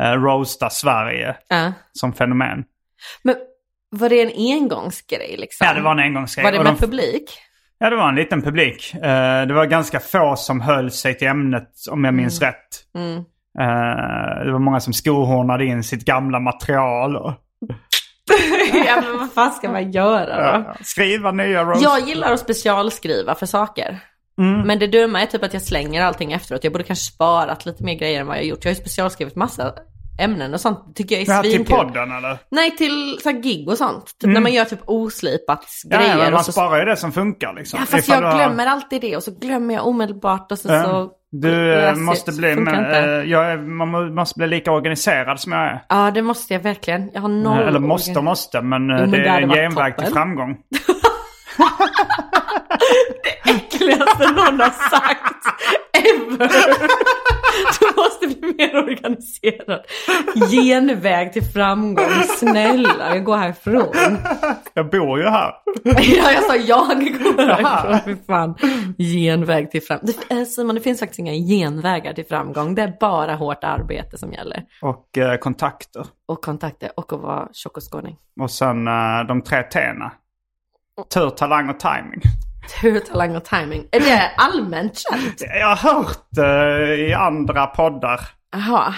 Speaker 1: eh, roasta Sverige
Speaker 2: ja.
Speaker 1: som fenomen.
Speaker 2: Men var det en engångsgrej liksom?
Speaker 1: Ja, det var en engångsgrej.
Speaker 2: Var det
Speaker 1: Och
Speaker 2: med
Speaker 1: de-
Speaker 2: publik?
Speaker 1: Ja, det var en liten publik. Eh, det var ganska få som höll sig till ämnet, om jag minns
Speaker 2: Mm.
Speaker 1: rätt. Eh, det var många som skohornade in sitt gamla material och
Speaker 2: ja, men vad fan ska man göra då?
Speaker 1: eh, skriva nya roast.
Speaker 2: Jag gillar att specialskriva för saker.
Speaker 1: Mm.
Speaker 2: Men det dumma är typ att jag slänger allting efteråt. Jag borde kanske sparat lite mer grejer än vad jag gjort. Jag har ju specialskrivit massa ämnen och sånt. Det tycker jag
Speaker 1: Det här
Speaker 2: är
Speaker 1: till
Speaker 2: svinkul.
Speaker 1: podden eller?
Speaker 2: Nej, till så här gig och sånt. Typ när man gör typ oslipat
Speaker 1: Ja,
Speaker 2: grejer.
Speaker 1: ja, men
Speaker 2: och
Speaker 1: man
Speaker 2: så...
Speaker 1: sparar ju det som funkar liksom.
Speaker 2: Ja, fast
Speaker 1: Ifall
Speaker 2: jag
Speaker 1: du har-
Speaker 2: glömmer alltid det och så glömmer jag omedelbart och så...
Speaker 1: Ja.
Speaker 2: så...
Speaker 1: Du eh,
Speaker 2: Jag ser-
Speaker 1: måste bli,
Speaker 2: funkar
Speaker 1: men,
Speaker 2: inte.
Speaker 1: eh, jag är, man må- måste bli lika organiserad som jag är. Eh,
Speaker 2: Ja, det måste jag verkligen. Jag har noll...
Speaker 1: Eller måste och
Speaker 2: organ-
Speaker 1: måste, men eh,
Speaker 2: men
Speaker 1: det är
Speaker 2: det hade
Speaker 1: en
Speaker 2: varit
Speaker 1: genväg till
Speaker 2: toppen.
Speaker 1: framgång.
Speaker 2: Äckligaste någon har sagt ever. Du måste bli mer organiserad. Genväg till framgång. Snälla, jag går härifrån.
Speaker 1: Jag bor ju här.
Speaker 2: Ja, jag sa jag går härifrån. Fy fan. Genväg till framgång. Simon, det finns faktiskt inga genvägar till framgång. Det är bara hårt arbete som gäller.
Speaker 1: Och eh, kontakter.
Speaker 2: Och kontakter och att vara tjock och skåning.
Speaker 1: Och sen eh, de tre T'na. Tur, talang och timing.
Speaker 2: Tur, talang och timing. Är det allmänt känt?
Speaker 1: Jag har hört eh, i andra poddar.
Speaker 2: Jaha.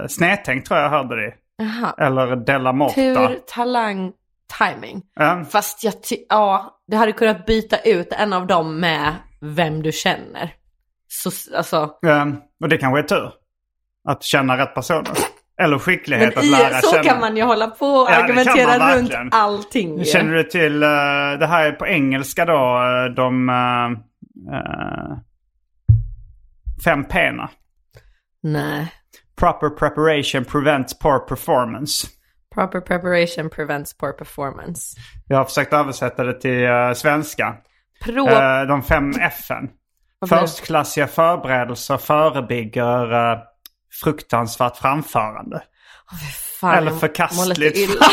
Speaker 1: Uh, Snedtänk tror jag hörde det.
Speaker 2: Jaha.
Speaker 1: Eller Della Morta.
Speaker 2: Tur, talang, timing.
Speaker 1: Ja.
Speaker 2: Fast jag ty- ja, du hade kunnat byta ut en av dem med vem du känner. Så, alltså,
Speaker 1: Ja, och det kanske är tur. Att känna rätt personer. Eller skicklighet
Speaker 2: men
Speaker 1: att
Speaker 2: i,
Speaker 1: lära
Speaker 2: så
Speaker 1: känna.
Speaker 2: kan man ju hålla på och
Speaker 1: Ja, det kan man
Speaker 2: argumentera runt
Speaker 1: verkligen.
Speaker 2: allting. ju.
Speaker 1: Känner du till, eh, det här är på engelska då, eh, de eh, eh, fem P'na.
Speaker 2: Nej.
Speaker 1: Proper preparation prevents poor performance.
Speaker 2: Proper preparation prevents poor performance.
Speaker 1: Jag har försökt översätta det till eh, svenska.
Speaker 2: Pro...
Speaker 1: Eh, de fem F'en.
Speaker 2: Vad blir det?
Speaker 1: Förstklassiga förberedelser förebygger eh, fruktansvärt framförande.
Speaker 2: Fan,
Speaker 1: Eh, eller
Speaker 2: jag mår
Speaker 1: förkastligt.
Speaker 2: lite illa.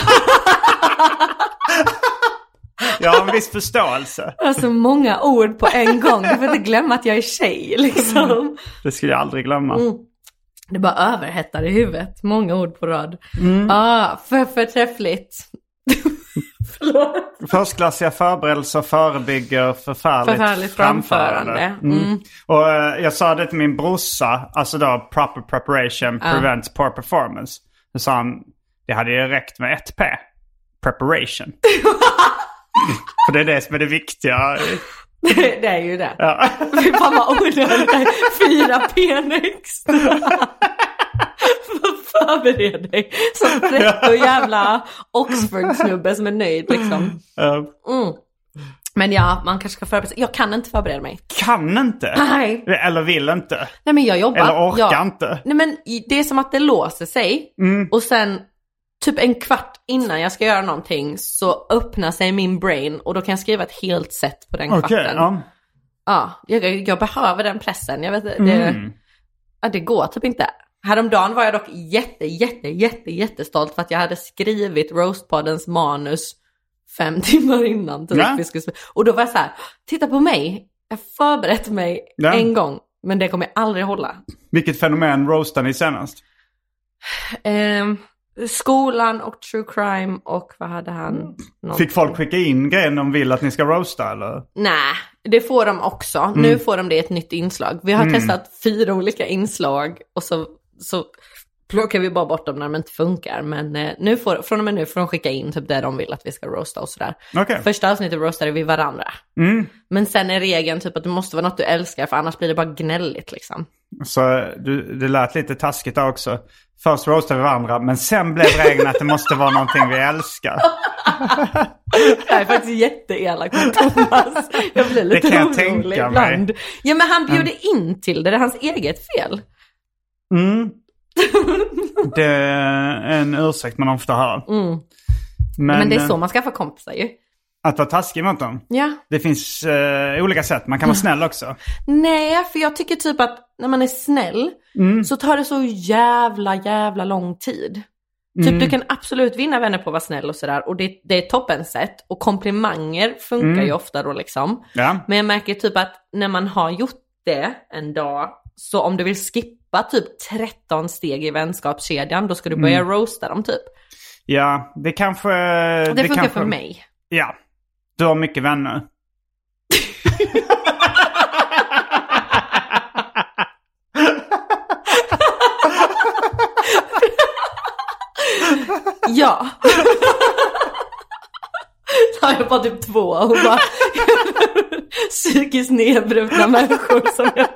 Speaker 1: Jag har en viss förståelse.
Speaker 2: Alltså många ord på en gång. Du får inte glömma att jag är tjej liksom.
Speaker 1: Det skulle jag aldrig glömma.
Speaker 2: Det bara överhettar i huvudet. Många ord på rad.
Speaker 1: Mm.
Speaker 2: Ah, för förträffligt. Förlåt.
Speaker 1: Förstklassiga förberedelser förebygger förfärligt,
Speaker 2: Förfärligt framförande. Mm.
Speaker 1: Och eh, jag sa det till min brorsa, alltså då proper preparation prevents poor performance. Då sa han, det hade ju räckt med ett P. Preparation. För det är det som är det viktiga.
Speaker 2: Det är ju det.
Speaker 1: Ja.
Speaker 2: Fy fan vad onödigt. Fyra penex. Förbered dig. Som pretto jävla Oxford-snubbe som är nöjd liksom.
Speaker 1: Eh,
Speaker 2: Mm. Men ja, man kanske ska förbereda sig. Jag kan inte förbereda mig.
Speaker 1: kan inte.
Speaker 2: Nej.
Speaker 1: Eller vill inte.
Speaker 2: Nej men jag jobbar.
Speaker 1: Eller orkar
Speaker 2: jag,
Speaker 1: inte. Mm.
Speaker 2: Nej men i- det är som att det låser sig och sen typ en kvart innan jag ska göra någonting så öppnar sig min brain och då kan jag skriva ett helt set på den
Speaker 1: Okej,
Speaker 2: kvarten.
Speaker 1: ja.
Speaker 2: Ja, jag, jag jag behöver den pressen. Jag vet, det,
Speaker 1: Mm.
Speaker 2: ja, det går typ inte. Häromdagen var jag dock jätte, jätte, jätte, jättestolt för att jag hade skrivit Roastpoddens manus fem timmar innan. Typ,
Speaker 1: Ja.
Speaker 2: vi skulle, spela. och då var jag så här, titta på mig, jag förberett mig
Speaker 1: Ja.
Speaker 2: en gång, men det kommer jag aldrig hålla.
Speaker 1: Vilket fenomen roastade ni senast?
Speaker 2: Ehm, skolan och true crime och vad hade han? Någon...
Speaker 1: Mm. Fick folk skicka in grejer de vill att ni ska roasta eller?
Speaker 2: Nej, det får de också.
Speaker 1: Mm.
Speaker 2: Nu får de det i ett nytt inslag. Vi har testat fyra olika inslag och så, så plockar vi bara bort dem när de inte funkar. Men eh, nu får, från och med nu får de skicka in typ det de vill att vi ska roasta och sådär.
Speaker 1: Okej. Mm.
Speaker 2: Första avsnittet roastade vi varandra. Men sen är regeln typ att det måste vara något du älskar för annars blir det bara gnälligt liksom.
Speaker 1: Så du, det lät lite taskigt där också. Först roastade vi varandra men sen blev regeln att det måste vara någonting vi älskar.
Speaker 2: Jag är faktiskt jätteelak mot Thomas. Jag blir lite
Speaker 1: kan jag
Speaker 2: orolig
Speaker 1: tänka mig.
Speaker 2: ibland. Ja men han bjuder in till det, det är hans eget fel.
Speaker 1: Mm. Det är en ursäkt man ofta hör. Men,
Speaker 2: Mm. Men, det är
Speaker 1: eh,
Speaker 2: så man skaffar kompisar ju.
Speaker 1: att vara taskig mot dem.
Speaker 2: Ja.
Speaker 1: Det finns eh, olika sätt. Man kan vara snäll också.
Speaker 2: Nej, för jag tycker typ att när man är snäll så tar det så jävla, jävla lång tid. Typ du kan absolut vinna vänner på att vara snäll och sådär och det, det är toppen sätt och komplimanger funkar ju ofta då liksom.
Speaker 1: Ja.
Speaker 2: Men jag märker typ att när man har gjort det en dag, så om du vill skippa typ 13 steg i vänskapskedjan, då ska du börja roasta dem typ.
Speaker 1: Ja, det kanske...
Speaker 2: Det, funkar
Speaker 1: kanske,
Speaker 2: för mig.
Speaker 1: Ja. Du har mycket vänner.
Speaker 2: Ja. Så har jag bara typ två och bara psykiskt nedbrutna människor som jag,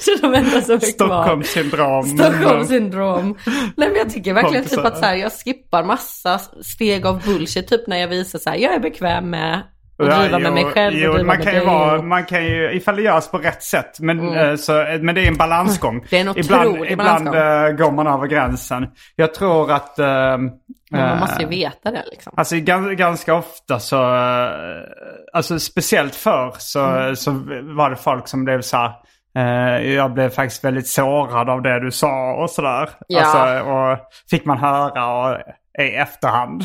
Speaker 2: så de enda som är kvar.
Speaker 1: Stockholmssyndrom.
Speaker 2: Stockholmssyndrom. Nej men jag tycker verkligen typ
Speaker 1: Kompisar.
Speaker 2: att så här, jag skippar massa steg av bullshit typ när jag visar så här, jag är bekväm med att
Speaker 1: Ja,
Speaker 2: driva med
Speaker 1: jo,
Speaker 2: mig själv och
Speaker 1: jo,
Speaker 2: driva
Speaker 1: man
Speaker 2: med
Speaker 1: kan
Speaker 2: dig.
Speaker 1: ju vara, man kan ju, ifall det görs på rätt sätt. Men, eh, så, men det är en balansgång.
Speaker 2: Mm. Det är en otrolig
Speaker 1: ibland ibland
Speaker 2: balansgång.
Speaker 1: eh, går man över gränsen. Jag tror att... eh,
Speaker 2: Men man
Speaker 1: eh,
Speaker 2: måste ju veta det liksom.
Speaker 1: Alltså gan- ganska ofta så, eh, alltså speciellt förr så,
Speaker 2: Mm.
Speaker 1: så var det folk som blev så här, eh, jag blev faktiskt väldigt sårad av det du sa och sådär.
Speaker 2: Ja.
Speaker 1: Alltså, och fick man höra och, i efterhand.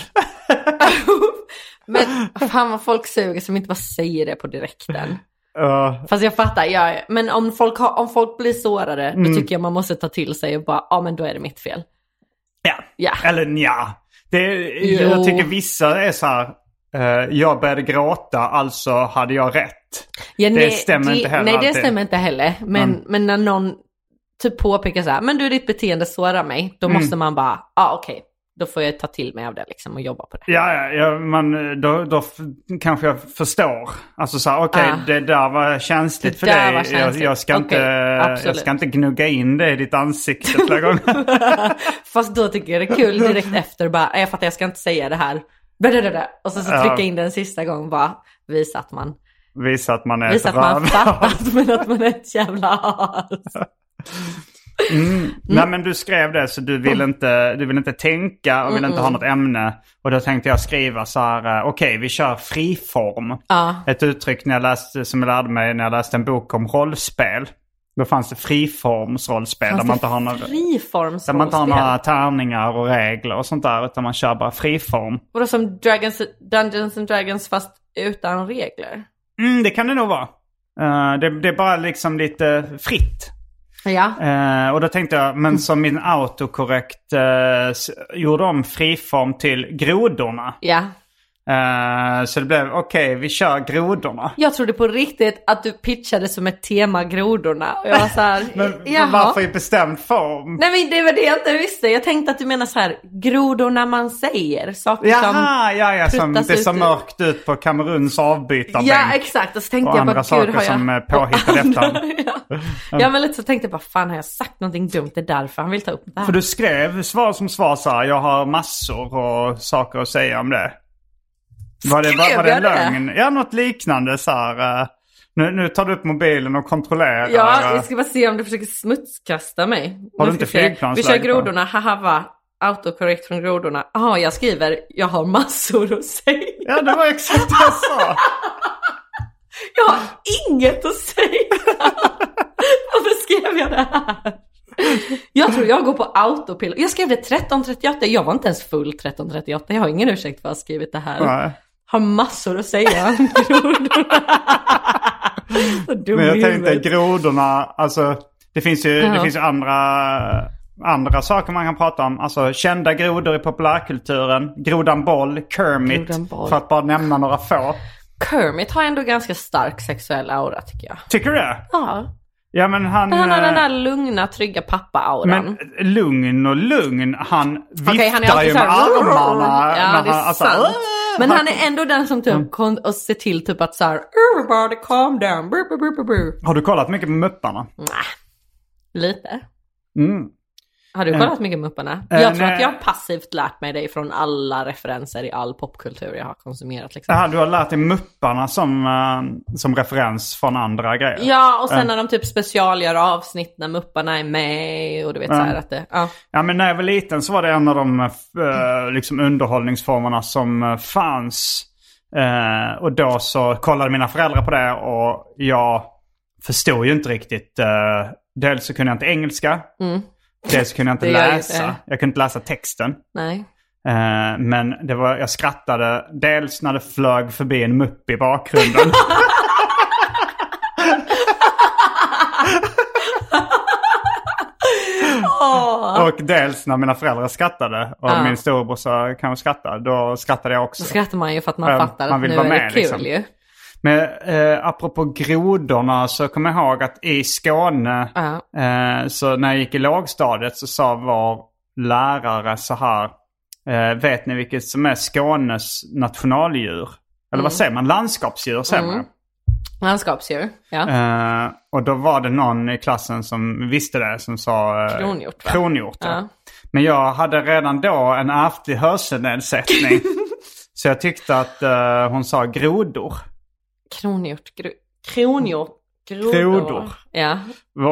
Speaker 2: Men fan vad folk suger som inte bara säger det på direkten.
Speaker 1: Eh,
Speaker 2: Fast jag fattar, ja, men om folk, har, om folk blir sårade
Speaker 1: Mm.
Speaker 2: då tycker jag man måste ta till sig och bara, ja men då är det mitt fel.
Speaker 1: Ja.
Speaker 2: Ja.
Speaker 1: Eller nja. Det,
Speaker 2: Jo.
Speaker 1: jag tycker vissa är så här. eh, jag började gråta, alltså hade jag rätt.
Speaker 2: Ja,
Speaker 1: Det stämmer inte heller
Speaker 2: Nej det
Speaker 1: alltid. Mm.
Speaker 2: stämmer inte heller. Men, men
Speaker 1: Mm.
Speaker 2: när någon typ påpekar så här, men du ditt beteende sårar mig, då måste man bara, ja ah, okej, då får jag ta till mig av det liksom och jobba på det.
Speaker 1: Ja, ja, ja men eh, då, då f- kanske jag förstår. Alltså så här, okej,
Speaker 2: Ah.
Speaker 1: det där var känsligt
Speaker 2: Det
Speaker 1: för
Speaker 2: där
Speaker 1: dig.
Speaker 2: var känsligt.
Speaker 1: Jag, jag, ska
Speaker 2: Okej,
Speaker 1: inte, jag
Speaker 2: absolut.
Speaker 1: ska inte gnugga in det i ditt ansikte flera gånger.
Speaker 2: Fast då tycker jag det är kul direkt efter bara, "Nej, jag fattar jag ska inte säga det här. Blablabla. Och sen så
Speaker 1: Ja.
Speaker 2: trycka in den sista gången bara visa att man,
Speaker 1: Visa att man är
Speaker 2: visa att
Speaker 1: ett
Speaker 2: man
Speaker 1: rövhål.
Speaker 2: fattat men att man är ett jävla as.
Speaker 1: Mm. Nej men du skrev det så du vill
Speaker 2: Mm.
Speaker 1: inte, du vill inte tänka och vill inte ha något ämne. Och då tänkte jag skriva så här, eh, okej vi kör friform.
Speaker 2: Ja.
Speaker 1: Ett uttryck när jag läste, som jag lärde mig när jag läste en bok om rollspel. Då fanns det friformsrollspel där man inte har några... Där
Speaker 2: friformsrollspel.
Speaker 1: man inte har några tärningar och regler och sånt där utan man kör bara friform.
Speaker 2: Vadå som Dragons, Dungeons and Dragons fast utan regler?
Speaker 1: Mm, det kan det nog vara. Eh, det, det är bara liksom lite fritt.
Speaker 2: Ja.
Speaker 1: Eh, och då tänkte jag,
Speaker 2: Mm.
Speaker 1: men som min autokorrekt eh, s- gjorde om friform till grodorna.
Speaker 2: Ja.
Speaker 1: Eh, så det blev, okej vi kör grodorna.
Speaker 2: Jag trodde på riktigt att du pitchade som ett tema grodorna. Och jag var så här,
Speaker 1: Men
Speaker 2: jaha.
Speaker 1: varför i bestämd form?
Speaker 2: Nej men det var det jag inte visste. Jag tänkte att du menar så här, grodorna man säger. Saker som...
Speaker 1: Jaha, ja, ja, som,
Speaker 2: pruttas
Speaker 1: det ser
Speaker 2: ut-
Speaker 1: mörkt ut på Kameruns avbytarbänk.
Speaker 2: Ja exakt. Och så tänkte
Speaker 1: Och
Speaker 2: jag
Speaker 1: andra
Speaker 2: bara,
Speaker 1: saker
Speaker 2: gud har jag...
Speaker 1: som är påhittade
Speaker 2: Och andra-
Speaker 1: efter
Speaker 2: ja. ja men lite så tänkte jag bara, fan har jag sagt någonting dumt? Det är därför han vill ta upp det här.
Speaker 1: För du skrev svar som svar så här, jag har massor och saker att säga om det. Var det, var,
Speaker 2: Skrev
Speaker 1: var det en
Speaker 2: jag det?
Speaker 1: lögn? Ja, något liknande så här. eh, Nu, nu tar du upp mobilen och kontrollerar.
Speaker 2: Ja,
Speaker 1: eh,
Speaker 2: jag ska bara se om du försöker smutskasta mig.
Speaker 1: Har du
Speaker 2: Nu
Speaker 1: inte
Speaker 2: ska vi se. Vi
Speaker 1: flygplansläge
Speaker 2: kör
Speaker 1: på?
Speaker 2: grodorna, haha va. Autocorrect från grodorna. Jaha, jag skriver jag har massor att säga.
Speaker 1: ja, det var exakt det jag sa.
Speaker 2: Jag har inget att säga. Varför skrev jag det här? Jag tror jag går på autopilot. Jag skrev det 13.38, jag var inte ens full 13.38. Jag har ingen ursäkt för att jag har skrivit det här.
Speaker 1: Nej.
Speaker 2: Har massor att säga om grodorna. Så dum
Speaker 1: Men
Speaker 2: i
Speaker 1: jag tänkte
Speaker 2: huvudet.
Speaker 1: grodorna, alltså det finns ju, det
Speaker 2: Ja.
Speaker 1: finns ju andra, andra saker man kan prata om. Alltså kända grodor i populärkulturen, grodan boll, Kermit,
Speaker 2: Grodan Boll.
Speaker 1: för att bara nämna några få.
Speaker 2: Kermit har ändå ganska stark sexuell aura tycker jag.
Speaker 1: Tycker du det?
Speaker 2: Ja,
Speaker 1: Ja men han...
Speaker 2: men han har
Speaker 1: eh,
Speaker 2: den där lugna, trygga pappa-auran.
Speaker 1: Men lugn och lugn, han viftar
Speaker 2: Okej, han är alltid
Speaker 1: ju med
Speaker 2: såhär...
Speaker 1: armarna.
Speaker 2: Ja,
Speaker 1: när
Speaker 2: det är
Speaker 1: han- alltså,
Speaker 2: sant.
Speaker 1: "Åh!"
Speaker 2: Men han är ändå den som typ kom och ser till typ att såhär... Everybody calm down. Brr, brr, brr, brr, brr.
Speaker 1: Har du kollat mycket på Mupparna?
Speaker 2: Mm. Lite.
Speaker 1: Mm.
Speaker 2: Har du kollat mycket Mupparna?
Speaker 1: Eh,
Speaker 2: Jag tror
Speaker 1: nej.
Speaker 2: att jag har passivt lärt mig det från alla referenser i all popkultur jag har konsumerat. Liksom.
Speaker 1: Aha, du har lärt dig Mupparna som, eh, som referens från andra grejer?
Speaker 2: Ja, och
Speaker 1: Eh.
Speaker 2: sen när de typ specialgör avsnitt när Mupparna är med och du vet
Speaker 1: Eh.
Speaker 2: så såhär att det... Ja.
Speaker 1: Ja men när jag var liten så var det en av de eh, liksom underhållningsformerna som eh, fanns. Eh, och då så kollade mina föräldrar på det och jag förstod ju inte riktigt. eh, dels så kunde jag inte engelska. Dels så kunde jag inte
Speaker 2: Mm. Det gör ju-
Speaker 1: läsa.
Speaker 2: eh.
Speaker 1: Jag kunde inte läsa texten.
Speaker 2: Nej.
Speaker 1: Eh, men det var, jag skrattade dels när det flög förbi en mupp i bakgrunden. Eh. och dels när mina föräldrar skrattade. Och
Speaker 2: Ja.
Speaker 1: min storebrorsa kanske skrattade. Då skrattade jag också.
Speaker 2: Då skrattar man ju för att
Speaker 1: Ja,
Speaker 2: man fattar
Speaker 1: Eh, man
Speaker 2: att
Speaker 1: vill
Speaker 2: nu
Speaker 1: vara
Speaker 2: är
Speaker 1: med,
Speaker 2: det kul
Speaker 1: liksom.
Speaker 2: ju.
Speaker 1: Men eh, apropå grodorna så kommer jag ihåg att i Skåne,
Speaker 2: Ja.
Speaker 1: eh, så när jag gick i lågstadiet så sa vår lärare så här. Eh, vet ni vilket som är Skånes nationaldjur? Eller
Speaker 2: Mm.
Speaker 1: vad säger man? Landskapsdjur säger man.
Speaker 2: Landskapsdjur. Ja.
Speaker 1: Eh, och då var det någon i klassen som visste det som sa... Eh,
Speaker 2: Kronhjort, va?
Speaker 1: Kronhjort, ja.
Speaker 2: Ja.
Speaker 1: Men jag hade redan då en ärftlig hörselnedsättning. så jag tyckte att eh, hon sa grodor.
Speaker 2: Kronhjort. Gro, kronhjort. Grodor.
Speaker 1: Grodor.
Speaker 2: Ja.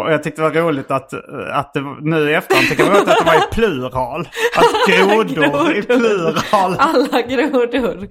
Speaker 1: Och Jag tyckte det var roligt att, eh, att det, var- nu i efterhand tycker jag det var roligt att det var i plural. Att grodor i plural.
Speaker 2: Alla grodor.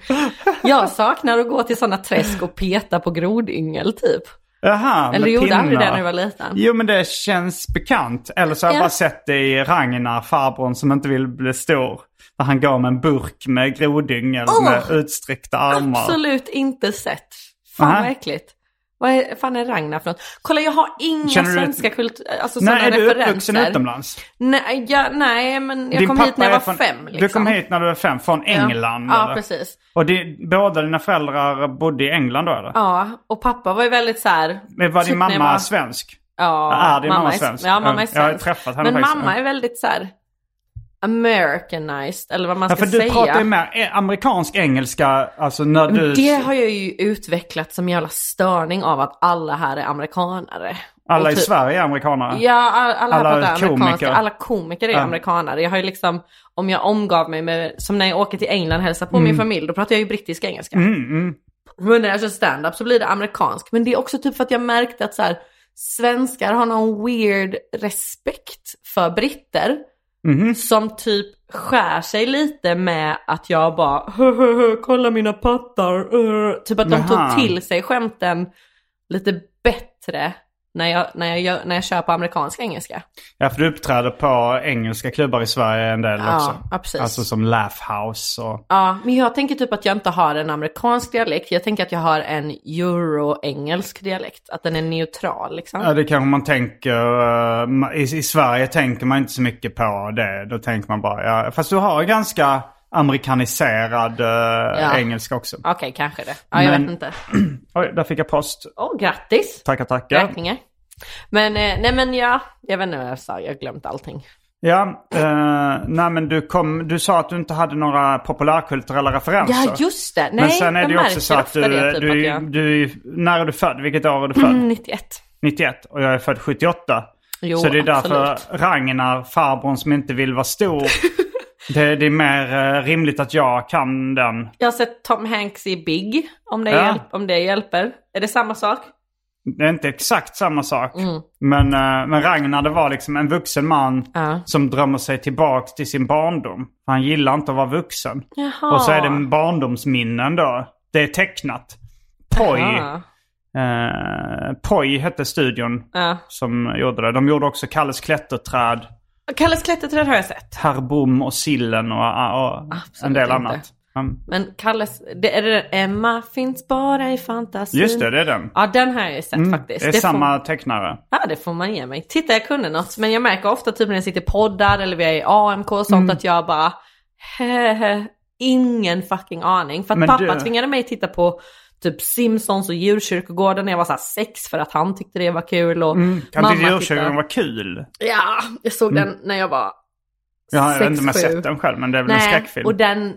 Speaker 2: Jag saknar att gå till sådana träsk och peta på grodyngel typ.
Speaker 1: Jaha,
Speaker 2: Eller
Speaker 1: med
Speaker 2: gjorde
Speaker 1: pinnar.
Speaker 2: aldrig det när du var liten?
Speaker 1: Jo men det känns bekant. Eller så har jag
Speaker 2: Ja.
Speaker 1: bara sett det i Ragnar, farbrorn som inte vill bli stor. När han går med en burk med grodyngel
Speaker 2: Åh!
Speaker 1: med utsträckta armar.
Speaker 2: Absolut inte sett. Fan
Speaker 1: Nej.
Speaker 2: vad äckligt. Vad är, fan är Ragnar för något? Kolla jag har inga
Speaker 1: Känner du-
Speaker 2: svenska kult... Alltså
Speaker 1: Nej,
Speaker 2: sådana
Speaker 1: är du
Speaker 2: referenser.
Speaker 1: uppvuxen utomlands?
Speaker 2: Nej, ja, nej, men jag
Speaker 1: Din
Speaker 2: kom
Speaker 1: pappa
Speaker 2: hit när jag
Speaker 1: är
Speaker 2: var
Speaker 1: från,
Speaker 2: fem. Liksom.
Speaker 1: Du kom hit när du var fem, från England?
Speaker 2: Ja,
Speaker 1: eller?
Speaker 2: ja precis.
Speaker 1: Och det, båda dina föräldrar bodde i England då eller?
Speaker 2: Ja, och pappa var ju väldigt så här.
Speaker 1: Men var
Speaker 2: typ
Speaker 1: din
Speaker 2: när jag
Speaker 1: mamma
Speaker 2: var-
Speaker 1: svensk?
Speaker 2: Ja,
Speaker 1: Ja, din mamma Ah, är
Speaker 2: s-
Speaker 1: svensk.
Speaker 2: Ja, mamma är
Speaker 1: Jag har
Speaker 2: svensk.
Speaker 1: träffat henne
Speaker 2: Men
Speaker 1: faktiskt.
Speaker 2: mamma är väldigt så här. Americanized, eller vad man
Speaker 1: Ja,
Speaker 2: ska
Speaker 1: för du
Speaker 2: säga.
Speaker 1: pratar ju mer eh, amerikansk engelska, alltså när du...
Speaker 2: Det har jag ju utvecklat som jävla störning av att alla här är amerikanare.
Speaker 1: Alla
Speaker 2: Och
Speaker 1: i
Speaker 2: typ-
Speaker 1: Sverige är amerikanare.
Speaker 2: Ja, alla, alla,
Speaker 1: Alla
Speaker 2: alla komiker.
Speaker 1: komiker.
Speaker 2: Alla komiker är
Speaker 1: Ja.
Speaker 2: amerikanare. Jag har ju liksom, om jag omgav mig med, som när jag åker till England och hälsar på min familj, då pratar jag ju brittisk engelska.
Speaker 1: Mm, mm.
Speaker 2: Men när jag kör stand-up så blir det amerikansk. Men det är också typ för att jag märkte att så här, svenskar har någon weird respekt för britter.
Speaker 1: Mhm.
Speaker 2: Som typ skär sig lite med att jag bara "Hö, hö, hö, kolla mina pattar. uh." Typ att de
Speaker 1: Jaha.
Speaker 2: tog till sig skämten lite bättre när jag, när jag, gör, när jag kör på amerikansk engelska.
Speaker 1: Ja, för du uppträder på engelska klubbar i Sverige en del
Speaker 2: Ja,
Speaker 1: också.
Speaker 2: ja, precis.
Speaker 1: Alltså som Laugh House och...
Speaker 2: Ja, men jag tänker typ att jag inte har en amerikansk dialekt. Jag tänker att jag har en euro-engelsk dialekt. Att den är neutral liksom.
Speaker 1: Ja, det kanske man tänker... eh, ma- i, I Sverige tänker man inte så mycket på det. Då tänker man bara... Ja, fast du har ganska amerikaniserad eh, engelska också.
Speaker 2: Okej, kanske det. Ja, jag
Speaker 1: Men-
Speaker 2: vet inte.
Speaker 1: Oj, där fick jag post.
Speaker 2: Åh, grattis!
Speaker 1: Tackar, tackar.
Speaker 2: Räkningar. Men eh, nej men ja, jag vet inte vad jag sa, jag har glömt allting.
Speaker 1: Ja, eh, nej men du, kom, du sa att du inte hade några populärkulturella referenser.
Speaker 2: Ja just det, nej
Speaker 1: Alltså. men sen är
Speaker 2: jag
Speaker 1: det ju också
Speaker 2: märker
Speaker 1: så att
Speaker 2: ofta
Speaker 1: du, eh,
Speaker 2: det, typ
Speaker 1: du, är ju-
Speaker 2: att jag... Mm,
Speaker 1: du är ju- när är du född? Vilket år är du född?
Speaker 2: 91.
Speaker 1: 91 och jag är född 78.
Speaker 2: Jo,
Speaker 1: så det är därför
Speaker 2: absolut.
Speaker 1: Ragnar, farbrorn som inte vill vara stor, det, det är mer eh, rimligt att jag kan den.
Speaker 2: Jag har sett Tom Hanks i Big, om det,
Speaker 1: Ja.
Speaker 2: hjälp, om det hjälper. Är det samma sak?
Speaker 1: Det är inte exakt samma sak.
Speaker 2: Mm.
Speaker 1: Men, eh, men Ragnar det var liksom en vuxen man
Speaker 2: Ja.
Speaker 1: som drömmer sig tillbaks till sin barndom. Han gillar inte att vara vuxen.
Speaker 2: Jaha.
Speaker 1: Och så är det barndomsminnen då. Det är tecknat. Poj.
Speaker 2: Jaha.
Speaker 1: Eh, Poj hette studion
Speaker 2: Ja.
Speaker 1: som gjorde det. De gjorde också Kalles klätterträd,
Speaker 2: Kalles klätterträd har jag sett.
Speaker 1: Herr Bom och Sillen och, och en del
Speaker 2: inte.
Speaker 1: annat. Mm.
Speaker 2: Men Kalles, det är det Emma finns bara i fantasin.
Speaker 1: Just det, det är den.
Speaker 2: Ja den har jag ju sett faktiskt.
Speaker 1: Det är
Speaker 2: Det får-
Speaker 1: samma tecknare.
Speaker 2: Ja, det får man ge mig. Titta, jag kunde något. Men jag märker ofta typ när jag sitter i poddar eller vi är i AMK och
Speaker 1: Mm.
Speaker 2: sånt att jag bara, hehe, ingen fucking aning. För att
Speaker 1: Men
Speaker 2: pappa
Speaker 1: du-
Speaker 2: tvingade mig titta på typ Simpsons och djurkyrkogården när jag var såhär sex för att han tyckte det var kul. Och
Speaker 1: Mm, Kan
Speaker 2: mamma
Speaker 1: inte djurkyrkan
Speaker 2: tittade-
Speaker 1: vara kul?
Speaker 2: Ja, jag såg den när jag var
Speaker 1: Jag har inte om jag
Speaker 2: Sex, sju.
Speaker 1: sett den själv, men det är väl en
Speaker 2: Nej,
Speaker 1: skräckfilm.
Speaker 2: och den,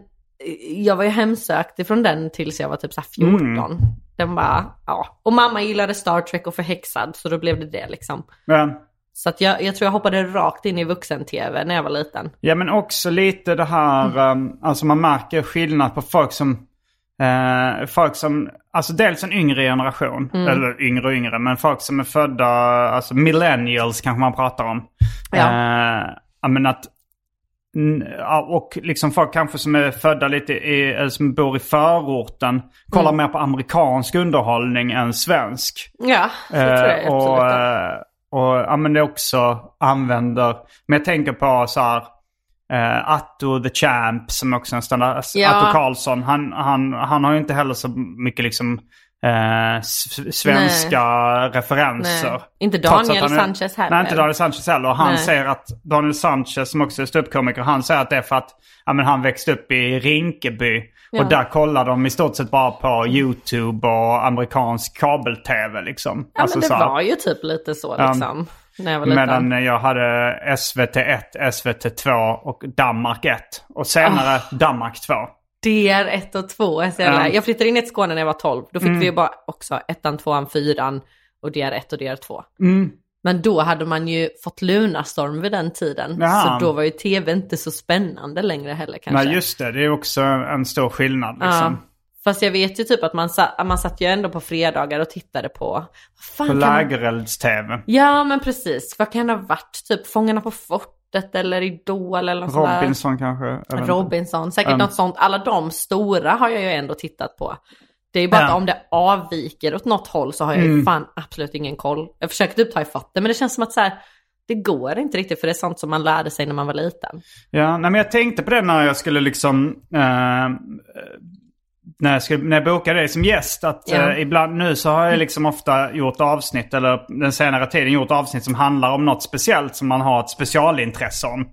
Speaker 2: jag var ju hemsökt ifrån den tills jag var typ såhär 14.
Speaker 1: Mm.
Speaker 2: Den bara, ja. Och mamma gillade Star Trek och Förhäxad så då blev det det liksom.
Speaker 1: Men-
Speaker 2: Så att jag, jag tror jag hoppade rakt in i vuxen-tv när jag var liten.
Speaker 1: Ja men också lite det här, ehm, alltså man märker skillnad på folk som, eh, folk som, alltså dels en yngre generation, eller yngre och yngre, men folk som är födda, alltså millennials kanske man pratar om.
Speaker 2: Ja.
Speaker 1: Eh, ja, men att, n- ja, och liksom folk kanske som är födda lite i, eller som bor i förorten, kollar mer på amerikansk underhållning än svensk.
Speaker 2: Ja, det tror jag
Speaker 1: Eh, och,
Speaker 2: absolut.
Speaker 1: eh, och ja, men det också använder, men jag tänker på så här, eh, Atto the Champ som också är en standard, alltså,
Speaker 2: Ja.
Speaker 1: Atto Karlsson, han, han, han har ju inte heller så mycket liksom eh, s- svenska referenser.
Speaker 2: Nej. Inte
Speaker 1: Trots att
Speaker 2: Daniel
Speaker 1: han är-
Speaker 2: Sanchez heller.
Speaker 1: Nej, inte Daniel Sanchez heller. Och Han
Speaker 2: Nej.
Speaker 1: säger att Daniel Sanchez som också är ståuppkomiker, han säger att det är för att ja, men han växte upp i Rinkeby.
Speaker 2: Ja.
Speaker 1: Och där kollar de i stort sett bara på YouTube och amerikansk kabel-tv liksom.
Speaker 2: ja, men det
Speaker 1: så här.
Speaker 2: var ju typ lite så liksom. när jag var liten.
Speaker 1: Medan jag hade SVT1, SVT2 och Danmark 1. Och senare
Speaker 2: Ah.
Speaker 1: Danmark 2.
Speaker 2: DR 1 och 2 är så jävla...
Speaker 1: Ja.
Speaker 2: Jag flyttade in i Skåne när jag var 12. Då fick vi ju bara också ettan, tvåan, fyran och DR 1 och DR 2. Men då hade man ju fått Lunarstorm vid den tiden.
Speaker 1: Ja.
Speaker 2: Så då var ju tv inte så spännande längre heller kanske.
Speaker 1: Nej, just det. Det är också en stor skillnad liksom.
Speaker 2: Ja. Fast jag vet ju typ att man, sa, man satt ju ändå på fredagar och tittade på... Vad fan
Speaker 1: På
Speaker 2: kan man-
Speaker 1: lägerelds-tv.
Speaker 2: Ja men precis, vad kan det ha varit? Typ Fångarna på fortet eller Idol eller något sånt
Speaker 1: Robinson kanske? jag vet
Speaker 2: där.
Speaker 1: inte.
Speaker 2: Robinson, säkert
Speaker 1: Mm.
Speaker 2: något sånt. Alla de stora har jag ju ändå tittat på. Det är ju bara
Speaker 1: Ja. Mm.
Speaker 2: att om det avviker åt något håll så har jag ju fan absolut ingen koll. Jag försöker typ ta ifatt det men det känns som att så här, det går inte riktigt för det är sånt som man lärde sig när man var liten.
Speaker 1: Ja, nej, men jag tänkte på det när jag skulle liksom... Eh, när, jag skulle, när jag bokade dig som gäst. Att
Speaker 2: Ja.
Speaker 1: eh, ibland nu så har jag liksom ofta gjort avsnitt, eller den senare tiden gjort avsnitt som handlar om något speciellt som man har ett
Speaker 2: Mm.
Speaker 1: specialintresse om.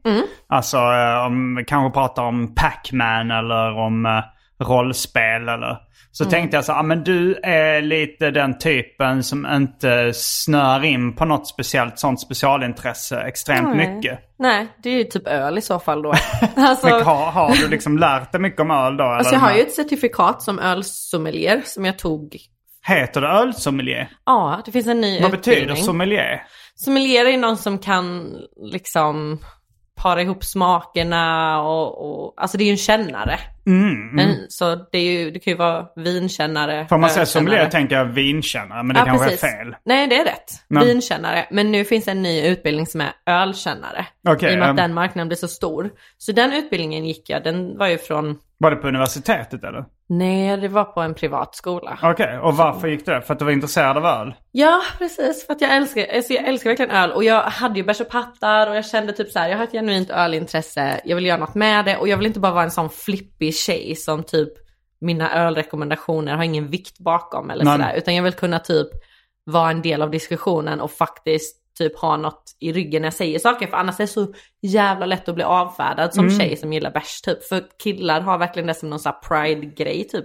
Speaker 1: Alltså eh, om, vi kanske pratar om Pac-Man eller om eh, rollspel eller. Så
Speaker 2: Mm.
Speaker 1: tänkte jag så här, ah, men du är lite den typen som inte snör in på något speciellt sånt specialintresse extremt
Speaker 2: Nej.
Speaker 1: mycket.
Speaker 2: Nej, det är ju typ öl i så fall då. alltså,
Speaker 1: Men har, har du liksom lärt dig mycket om öl då?
Speaker 2: alltså
Speaker 1: eller?
Speaker 2: jag har ju ett certifikat som ölsommelier som jag tog.
Speaker 1: Heter det ölsommelier?
Speaker 2: Ja, det finns en ny
Speaker 1: Vad
Speaker 2: utbildning.
Speaker 1: betyder sommelier?
Speaker 2: Sommelier är någon som kan liksom para ihop smakerna och, och alltså det är ju en kännare. En, så det, är ju, det kan ju vara vinkännare.
Speaker 1: Mm. Får man säga
Speaker 2: ölkännare.
Speaker 1: sommelier tänker jag vinkännare, men det
Speaker 2: Ja,
Speaker 1: kanske
Speaker 2: precis.
Speaker 1: är fel.
Speaker 2: Nej, det är rätt.
Speaker 1: Men-
Speaker 2: Vinkännare. Men nu finns en ny utbildning som är ölkännare.
Speaker 1: Okej,
Speaker 2: I och med
Speaker 1: ehm.
Speaker 2: att den marknaden blir så stor. Så den utbildningen gick jag. Den var ju från,
Speaker 1: Var det på universitetet eller?
Speaker 2: nej det var på en privat skola.
Speaker 1: Okej, och varför gick du det? För att du var intresserad av öl?
Speaker 2: Ja, precis. För att jag älskar, alltså jag älskar verkligen öl. Och jag hade ju bärs och pattar och jag kände typ så här, jag har ett genuint ölintresse. Jag vill göra något med det och jag vill inte bara vara en sån flippig tjej som typ mina ölrekommendationer har ingen vikt bakom eller
Speaker 1: Nej.
Speaker 2: sådär. Utan jag vill kunna typ vara en del av diskussionen och faktiskt typ ha något i ryggen när jag säger saker. För annars är det så jävla lätt att bli avfärdad som tjej som gillar bärs typ. För killar har verkligen det som någon sån här pride-grej typ.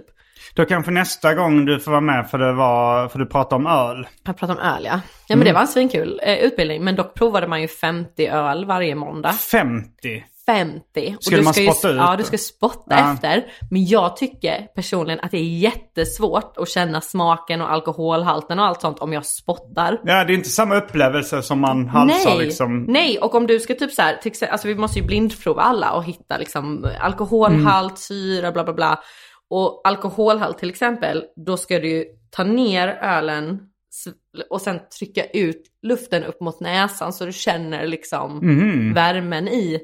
Speaker 1: Då kanske nästa gång du får vara med för, det var, för du pratar om öl.
Speaker 2: Jag pratar om öl ja. Ja men
Speaker 1: Mm.
Speaker 2: det var en svinkul eh, utbildning. Men dock provade man ju 50 öl varje måndag.
Speaker 1: 50.
Speaker 2: 50.
Speaker 1: Skulle
Speaker 2: du
Speaker 1: man
Speaker 2: ska
Speaker 1: spotta
Speaker 2: ju,
Speaker 1: ut
Speaker 2: Ja
Speaker 1: det?
Speaker 2: du ska spotta
Speaker 1: Ja.
Speaker 2: efter. Men jag tycker personligen att det är jättesvårt att känna smaken och alkoholhalten och allt sånt om jag spottar.
Speaker 1: Ja, det är inte samma upplevelse som man halsar liksom.
Speaker 2: nej, och om du ska typ så här, till exempel, alltså vi måste ju blindprova alla och hitta liksom alkoholhalt,
Speaker 1: Mm.
Speaker 2: syra, bla bla bla. Och alkoholhalt till exempel, då ska du ju ta ner ölen s- och sen trycka ut luften upp mot näsan så du känner liksom
Speaker 1: Mm. Mhm.
Speaker 2: värmen i.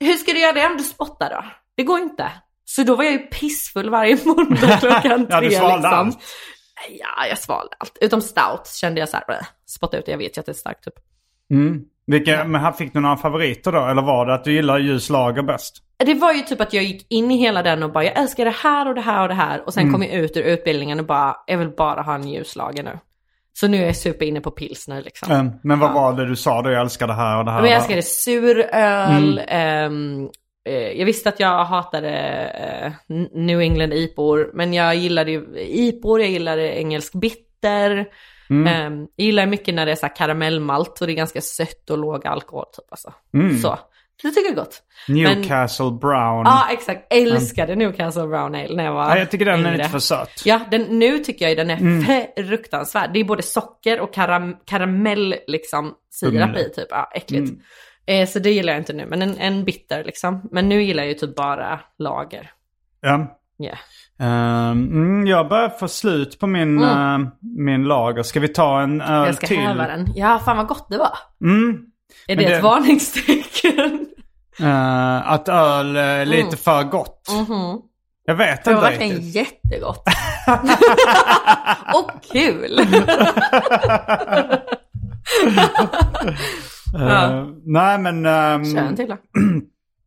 Speaker 2: Hur ska du göra det om du spottar då? Det går inte. Så då var jag ju pissfull varje måndag klockan
Speaker 1: Ja,
Speaker 2: tre
Speaker 1: du svalde
Speaker 2: liksom.
Speaker 1: allt.
Speaker 2: Ja, jag svalde allt. Utom stout kände jag så här, "Bleh, spotta ut det, jag vet ju att det är starkt typ.
Speaker 1: Mm. Vilka, men här fick du några favoriter då? Eller var det att du gillar ljus lager bäst?
Speaker 2: Det var ju typ att jag gick in i hela den och bara jag älskar det här och det här och det här och sen kom jag ut ur utbildningen och bara jag vill bara ha en ljuslager nu. Så nu är jag super inne på pilsner liksom.
Speaker 1: Mm. Men vad var det du sa då? Jag älskar det här och det här.
Speaker 2: Men jag
Speaker 1: och det här.
Speaker 2: älskade suröl, ehm, eh, jag visste att jag hatade eh, N- New England IPOR men jag gillade ju IPOR, jag gillade engelsk bitter. Ehm, jag gillar mycket när det är så här karamellmalt och det är ganska sött och låg alkohol typ alltså. Så. Det tycker jag är gott.
Speaker 1: Newcastle Brown.
Speaker 2: Ja exakt, älskade Newcastle Brown Ale när jag var
Speaker 1: Mm. ja, jag tycker den är
Speaker 2: yngre.
Speaker 1: lite för Mm. söt.
Speaker 2: Ja, den, nu tycker jag ju den är fruktansvärd. Det är både socker och karam, karamell liksom sirap
Speaker 1: Humle.
Speaker 2: i typ. Ja, äckligt.
Speaker 1: Mm.
Speaker 2: Eh, så det gillar jag inte nu, men en, en bitter liksom. Men nu gillar jag ju typ bara lager.
Speaker 1: Ja.
Speaker 2: Yeah.
Speaker 1: Ehm, mm, jag börjar få slut på min, eh, min lager. Ska vi ta en öl
Speaker 2: Mm. Jag ska
Speaker 1: till?
Speaker 2: häva den. Ja, fan vad gott det var.
Speaker 1: Mm.
Speaker 2: Är
Speaker 1: Men
Speaker 2: det,
Speaker 1: det-
Speaker 2: ett varningstecken?
Speaker 1: Eh, att öl är lite
Speaker 2: Mm.
Speaker 1: för gott. Jag vet
Speaker 2: Det var
Speaker 1: inte
Speaker 2: verkligen
Speaker 1: riktigt.
Speaker 2: jättegott. och kul.
Speaker 1: Mm. Eh, nej men... ehm,
Speaker 2: Kör en till då.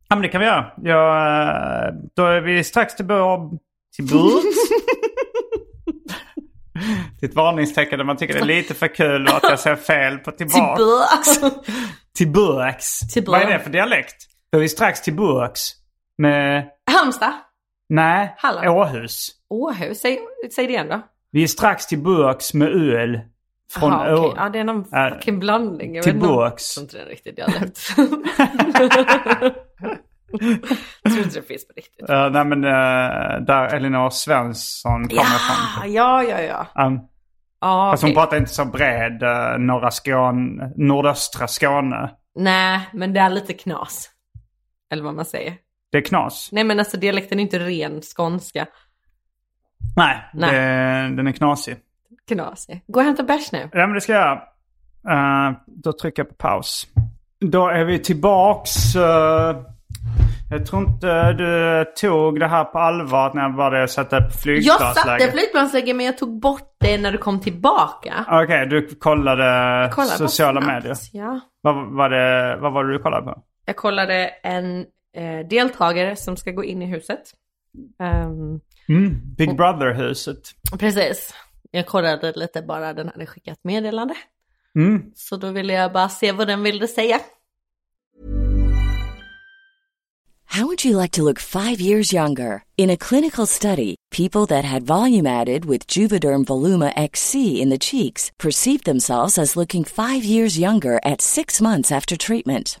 Speaker 1: Ja men det kan vi göra. Jag, eh, då är vi strax till bör... Till bör... Det är ett varningstecken där man tycker det är lite för kul och att jag säger fel på tillbaka.
Speaker 2: Tillbaks.
Speaker 1: Till burks.
Speaker 2: Till
Speaker 1: Vad är
Speaker 2: burks.
Speaker 1: det för dialekt? Då är vi strax till burks. Med...
Speaker 2: Halmstad.
Speaker 1: Nej,
Speaker 2: Halland.
Speaker 1: Åhus.
Speaker 2: Åhus. Säg, säg det igen då.
Speaker 1: Vi är strax till burks med öl. Från
Speaker 2: Jaha, okej.
Speaker 1: Å...
Speaker 2: Ja, det är någon
Speaker 1: Är-
Speaker 2: fucking blandning. Jag
Speaker 1: till
Speaker 2: vet inte om-
Speaker 1: Boax.
Speaker 2: Jag tror inte det är en riktig dialekt. jag tror inte det finns på riktigt.
Speaker 1: Eh, nej men eh, där Elinor Svensson kommer ifrån.
Speaker 2: ja, ja, ja.
Speaker 1: Um,
Speaker 2: ja
Speaker 1: Fast hon
Speaker 2: okej.
Speaker 1: pratar inte så bred eh, norra Skåne, nordöstra Skåne.
Speaker 2: Nej, men det är lite knas. Eller vad man säger.
Speaker 1: Det är knas.
Speaker 2: Nej men alltså dialekten är inte ren skånska.
Speaker 1: Nej,
Speaker 2: Nej.
Speaker 1: Det, den är knasig.
Speaker 2: Knasig. Gå och hämta bärs nu.
Speaker 1: Ja men det ska jag göra. Eh, Då trycker jag på paus. Då är vi tillbaks. eh, Jag tror inte du tog det här på allvar när jag bara satte på
Speaker 2: Jag satte
Speaker 1: flygplansläge.
Speaker 2: flygplansläge men jag tog bort det när du kom tillbaka.
Speaker 1: Okej, du kollade
Speaker 2: Kolla, vad
Speaker 1: sociala
Speaker 2: snabbt.
Speaker 1: medier.
Speaker 2: Ja.
Speaker 1: Vad var, det, vad var det du kollade på?
Speaker 2: Jag kollade en eh, deltagare som ska gå in i huset. Ehm,
Speaker 1: Big Brother-huset.
Speaker 2: Precis. Jag kollade lite bara, den hade skickat meddelande.
Speaker 1: Mm.
Speaker 2: Så då ville jag bara se vad den ville säga.
Speaker 3: How would you like to look five years younger? In a clinical study, people that had volume added with Juvederm Voluma XC in the cheeks perceived themselves as looking five years younger at six months after treatment.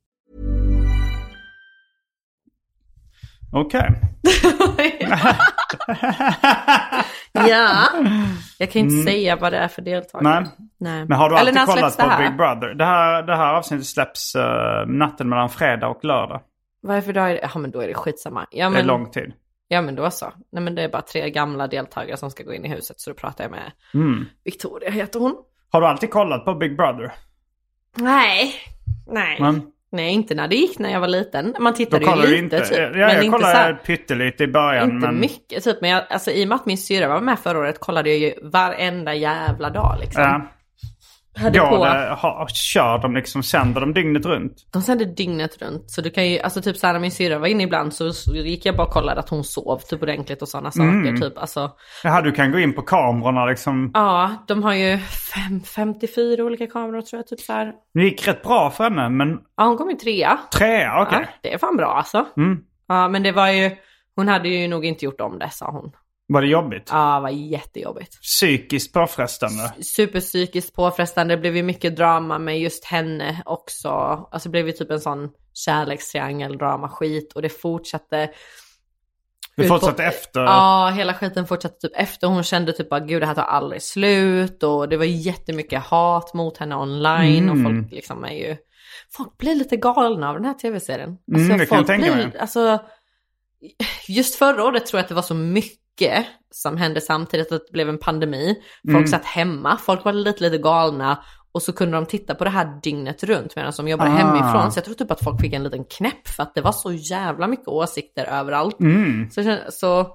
Speaker 1: Okej.
Speaker 2: ja, jag kan inte säga vad det är för deltagare.
Speaker 1: Mm. Nej. Men har du
Speaker 2: Eller när
Speaker 1: alltid kollat
Speaker 2: släpps
Speaker 1: på
Speaker 2: det här?
Speaker 1: Big Brother? Det här, det här avsnittet släpps eh, natten mellan fredag och lördag.
Speaker 2: Vad är det för dag? är det? Ja, men då är det skitsamma. Ja,
Speaker 1: Det är
Speaker 2: men,
Speaker 1: lång tid.
Speaker 2: ja, men då så. Nej, men det är bara tre gamla deltagare som ska gå in i huset. Så då pratar jag med
Speaker 1: Mm.
Speaker 2: Victoria, heter hon.
Speaker 1: Har du alltid kollat på Big Brother?
Speaker 2: Nej. Nej.
Speaker 1: Men-
Speaker 2: Nej, inte när det gick när jag var liten. Man
Speaker 1: Då
Speaker 2: tittade
Speaker 1: kollar
Speaker 2: ju
Speaker 1: du inte.
Speaker 2: lite
Speaker 1: eh,
Speaker 2: typ.
Speaker 1: ja,
Speaker 2: men
Speaker 1: jag
Speaker 2: inte så
Speaker 1: kollade
Speaker 2: här,
Speaker 1: pyttelite i början.
Speaker 2: Inte
Speaker 1: men...
Speaker 2: mycket typ, men jag, alltså, i och med att min syra var med förra året kollade jag ju varenda jävla dag liksom.
Speaker 1: Ja.
Speaker 2: Hade
Speaker 1: Går
Speaker 2: på.
Speaker 1: det, ha, kör de liksom, sänder de dygnet runt?
Speaker 2: De sänder dygnet runt. Så du kan ju, alltså typ såhär när min syrra var inne ibland så, så gick jag bara och kollade att hon sov typ ordentligt och sådana saker.
Speaker 1: Mm.
Speaker 2: Typ. Alltså,
Speaker 1: Jaha, du kan gå in på kamerorna liksom.
Speaker 2: ja, de har ju fem, 54 olika kameror tror jag. Typ så här.
Speaker 1: Det gick rätt bra för henne, men
Speaker 2: Ja, hon kom ju trea.
Speaker 1: trea, okej.
Speaker 2: Ja, det är fan bra alltså.
Speaker 1: Mm.
Speaker 2: Ja, men det var ju, hon hade ju nog inte gjort om det sa hon.
Speaker 1: Var det jobbigt?
Speaker 2: Ja, det var jättejobbigt.
Speaker 1: Psykiskt påfrestande.
Speaker 2: Superpsykiskt påfrestande, det blev ju mycket drama med just henne också. Alltså det blev ju typ en sån kärlekstriangel drama skit och det fortsatte
Speaker 1: Du
Speaker 2: Ut-
Speaker 1: fortsatte efter.
Speaker 2: Ja, hela skiten fortsatte typ efter. Hon kände typ bara gud det här tar aldrig slut och det var jättemycket hat mot henne online
Speaker 1: Mm.
Speaker 2: och folk liksom är ju, folk blir lite galna av den här tv-serien. Alltså,
Speaker 1: Mm, det kan jag tänka
Speaker 2: blir,
Speaker 1: mig.
Speaker 2: Alltså, just förra året tror jag att det var så mycket som hände samtidigt att det blev en pandemi. Folk
Speaker 1: Mm.
Speaker 2: satt hemma, folk var lite, lite galna. Och så kunde de titta på det här dygnet runt medan de jobbade
Speaker 1: Ah.
Speaker 2: hemifrån. Så jag tror typ att folk fick en liten knäpp för att det var så jävla mycket åsikter överallt.
Speaker 1: Mm.
Speaker 2: Så, jag kände- så,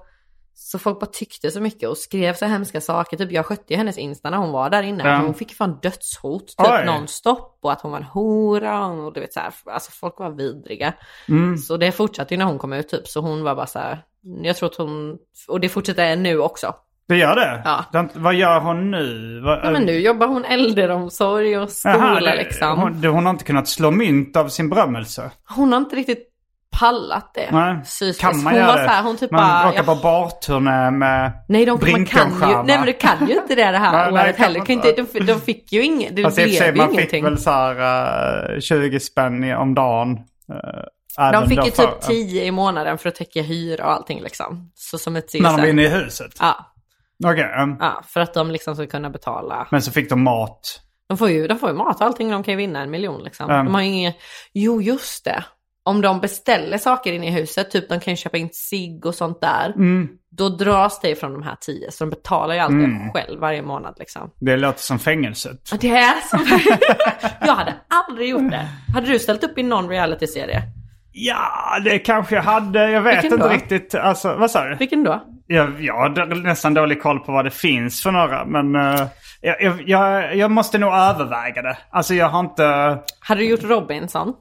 Speaker 2: så folk bara tyckte så mycket och skrev så hemska saker. Typ jag skötte ju hennes Insta när hon var där inne.
Speaker 1: Ja.
Speaker 2: Hon fick fan dödshot
Speaker 1: Oj.
Speaker 2: typ nonstop och att hon var en hora och du vet så här. Alltså folk var vidriga.
Speaker 1: Mm.
Speaker 2: Så det fortsatte ju när hon kom ut typ. Så hon var bara så här. Jag tror att hon, och det fortsätter än nu också.
Speaker 1: Det gör det?
Speaker 2: Ja.
Speaker 1: Den, vad gör hon nu? Vad,
Speaker 2: Ja, men nu jobbar hon äldreomsorg och skola
Speaker 1: Jaha, det-
Speaker 2: liksom. Hon,
Speaker 1: Hon, hon har inte kunnat slå mynt av sin berömmelse.
Speaker 2: har inte riktigt pallat det.
Speaker 1: Nej.
Speaker 2: Psykiskt.
Speaker 1: Kan man
Speaker 2: hon
Speaker 1: göra
Speaker 2: var
Speaker 1: det?
Speaker 2: så här, hon typ
Speaker 1: man
Speaker 2: bara,
Speaker 1: åker
Speaker 2: "Ja,
Speaker 1: på barturné med
Speaker 2: Nej, de, man kan ju,
Speaker 1: Brinkenstjärna.
Speaker 2: nej men det kan ju inte det det
Speaker 1: Nej,
Speaker 2: här
Speaker 1: nej,
Speaker 2: året
Speaker 1: kan
Speaker 2: heller.
Speaker 1: man
Speaker 2: Kan
Speaker 1: inte.
Speaker 2: inte, de, de fick ju inget, det
Speaker 1: Fast Alltså, i och
Speaker 2: blev
Speaker 1: för sig,
Speaker 2: ju
Speaker 1: man
Speaker 2: ingenting.
Speaker 1: fick väl så här eh, 20 spänn i- om dagen. eh, även
Speaker 2: de fick
Speaker 1: då
Speaker 2: ju
Speaker 1: för-
Speaker 2: typ 10 i månaden för att täcka hyra och allting liksom. Så som ett
Speaker 1: När de var
Speaker 2: CSN.
Speaker 1: inne i huset?
Speaker 2: Ja,
Speaker 1: Okej. mm.
Speaker 2: ja, för att de liksom ska kunna betala.
Speaker 1: Men så fick de mat.
Speaker 2: De får ju, de får ju mat och allting, de kan ju vinna en miljon liksom.
Speaker 1: Mm.
Speaker 2: De har ju inget, jo just
Speaker 1: Mm.
Speaker 2: det. Om de beställer saker inne i huset, typ de kan ju köpa in cigg och sånt där. då dras det ifrån de här tio. Så de betalar ju alltid
Speaker 1: Mm.
Speaker 2: själv varje månad liksom.
Speaker 1: Det låter som fängelset.
Speaker 2: Ja, Det är som... jag hade aldrig gjort det. Hade du ställt upp i någon realityserie?
Speaker 1: Ja, det kanske jag hade. Jag vet
Speaker 2: Vilken
Speaker 1: inte
Speaker 2: då?
Speaker 1: riktigt. Alltså, vad sa du?
Speaker 2: Vilken då?
Speaker 1: Jag, jag har nästan dålig koll på vad det finns för några. Men eh, jag- jag, jag, jag måste nog överväga det. Alltså jag har inte...
Speaker 2: Hade du gjort Robinson?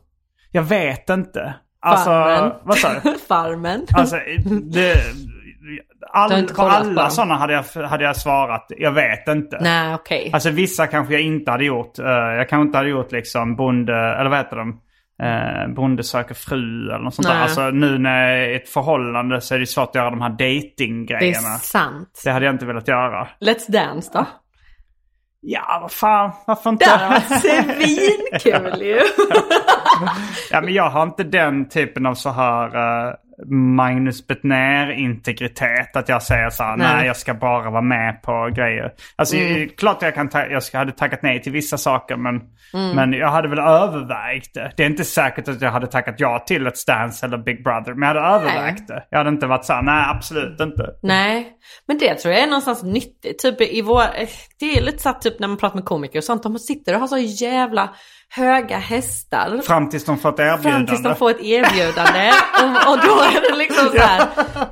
Speaker 1: Jag vet inte. Alltså,
Speaker 2: Farmen?
Speaker 1: vad sa du?
Speaker 2: Farmen?
Speaker 1: Alltså, det, all,
Speaker 2: Du har inte
Speaker 1: på
Speaker 2: kollat på
Speaker 1: alla
Speaker 2: dem?
Speaker 1: sådana hade jag, hade jag svarat, jag vet inte.
Speaker 2: Nej, okej.
Speaker 1: Alltså vissa kanske jag inte hade gjort. Eh, jag kanske inte hade gjort liksom bonde, eller vad heter de? Uh, bonde söker fru eller något sånt där.
Speaker 2: Nej.
Speaker 1: Alltså nu när jag är i ett förhållande så är det svårt att göra de här
Speaker 2: det är
Speaker 1: dating-grejerna.
Speaker 2: sant.
Speaker 1: Det hade jag inte velat göra.
Speaker 2: Let's dance då?
Speaker 1: Ja, vad fan, varför
Speaker 2: Det
Speaker 1: inte?
Speaker 2: hade varit svinkul ju.
Speaker 1: Ja, men jag har inte den typen av så här eh, Magnus Bettner integritet att jag säger så här, nej.
Speaker 2: Nej. Mm.
Speaker 1: jag ska bara vara med på grejer. Alltså klart jag kan ta- jag ska- hade tackat nej till vissa saker men,
Speaker 2: Mm.
Speaker 1: men jag hade väl övervägt det. Det är inte säkert att jag hade tackat ja till ett Dance eller Big Brother men jag hade övervägt det. Jag hade inte varit så här, nej absolut inte.
Speaker 2: Nej, men det tror jag är någonstans nyttigt. Typ i vår, eh, det är lite så att typ när man pratar med komiker och sånt, de sitter och har så jävla höga hästar.
Speaker 1: Fram tills de fått
Speaker 2: Fram
Speaker 1: erbjudande.
Speaker 2: tills de får ett erbjudande och, och då är det liksom så här.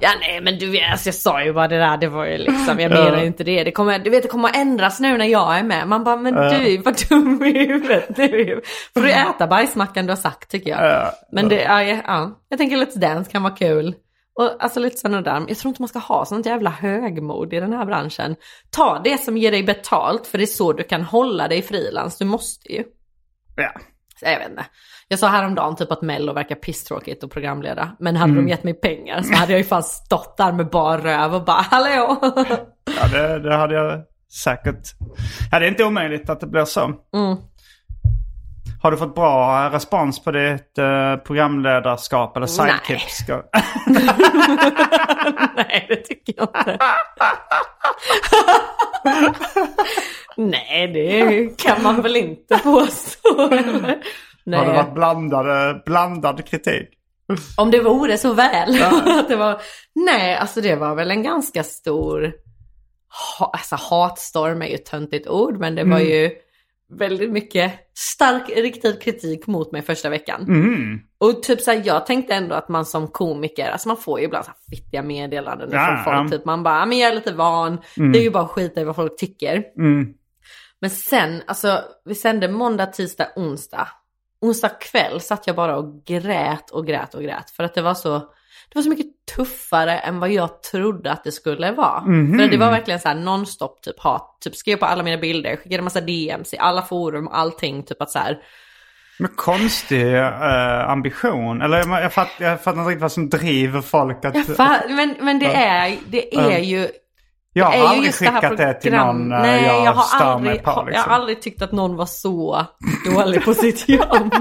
Speaker 2: Ja nej men du vet, alltså, jag sa ju bara det där, det var ju liksom, jag menar ju inte det. det kommer, du vet det kommer att ändras nu när jag är med. Man bara, men du är ju bara dum i huvudet nu. Får du äta bajsmackan du har sagt tycker jag. Men det, ja, ja, ja. jag tänker Let's Dance kan vara kul. Och alltså lite sån och där. Jag tror inte man ska ha sånt jävla högmod i den här branschen. Ta det som ger dig betalt, för det är så du kan hålla dig frilans. Du måste ju.
Speaker 1: Ja.
Speaker 2: Så jag vet inte. Jag sa häromdagen typ att Mello verkar pisstråkigt att programleda. Men hade de gett mig pengar så hade jag ju fan stått där med bar röv och bara hallå.
Speaker 1: Ja, det, det hade jag säkert. Ja, det är inte omöjligt att det blir så.
Speaker 2: Mm.
Speaker 1: Har du fått bra eh, respons på ditt eh, programledarskap eller
Speaker 2: Nej.
Speaker 1: sidekicks?
Speaker 2: Nej det tycker jag inte. Nej det kan man väl inte påstå. eller?
Speaker 1: Har det
Speaker 2: Nej.
Speaker 1: varit blandade, blandad kritik?
Speaker 2: Om det vore så väl. Att det var... Nej alltså det var väl en ganska stor ha... alltså, hatstorm är ju ett töntigt ord men det var
Speaker 1: Mm.
Speaker 2: ju väldigt mycket stark riktad kritik mot mig första veckan.
Speaker 1: Mm.
Speaker 2: Och typ så här, jag tänkte ändå att man som komiker, alltså man får ju ibland så här fittiga meddelanden
Speaker 1: Ja,
Speaker 2: från folk.
Speaker 1: ja.
Speaker 2: Typ man bara, "Ja, men jag är lite van, det är ju bara skit i vad folk tycker.
Speaker 1: Mm.
Speaker 2: Men sen, alltså vi sände måndag, tisdag, onsdag. Onsdag kväll satt jag bara och grät och grät och grät. För att det var så, det var så mycket tuffare än vad jag trodde att det skulle vara. För det var verkligen så här nonstop typ hat. Typ skrev på alla mina bilder, skickade massa DMs i alla forum och allting. Typ att så här,
Speaker 1: Men konstig eh, ambition. Eller jag, jag, fatt, jag fattar inte riktigt vad som driver folk att...
Speaker 2: jag fa- men, men det är, det är ju
Speaker 1: Jag har
Speaker 2: är ju
Speaker 1: aldrig
Speaker 2: Eh, just det här
Speaker 1: skickat det till
Speaker 2: program-
Speaker 1: någon eh,
Speaker 2: Nej,
Speaker 1: jag,
Speaker 2: jag, har
Speaker 1: stör mig
Speaker 2: aldrig,
Speaker 1: på.
Speaker 2: Jag
Speaker 1: Liksom.
Speaker 2: har aldrig tyckt att någon var så dålig på sitt jobb.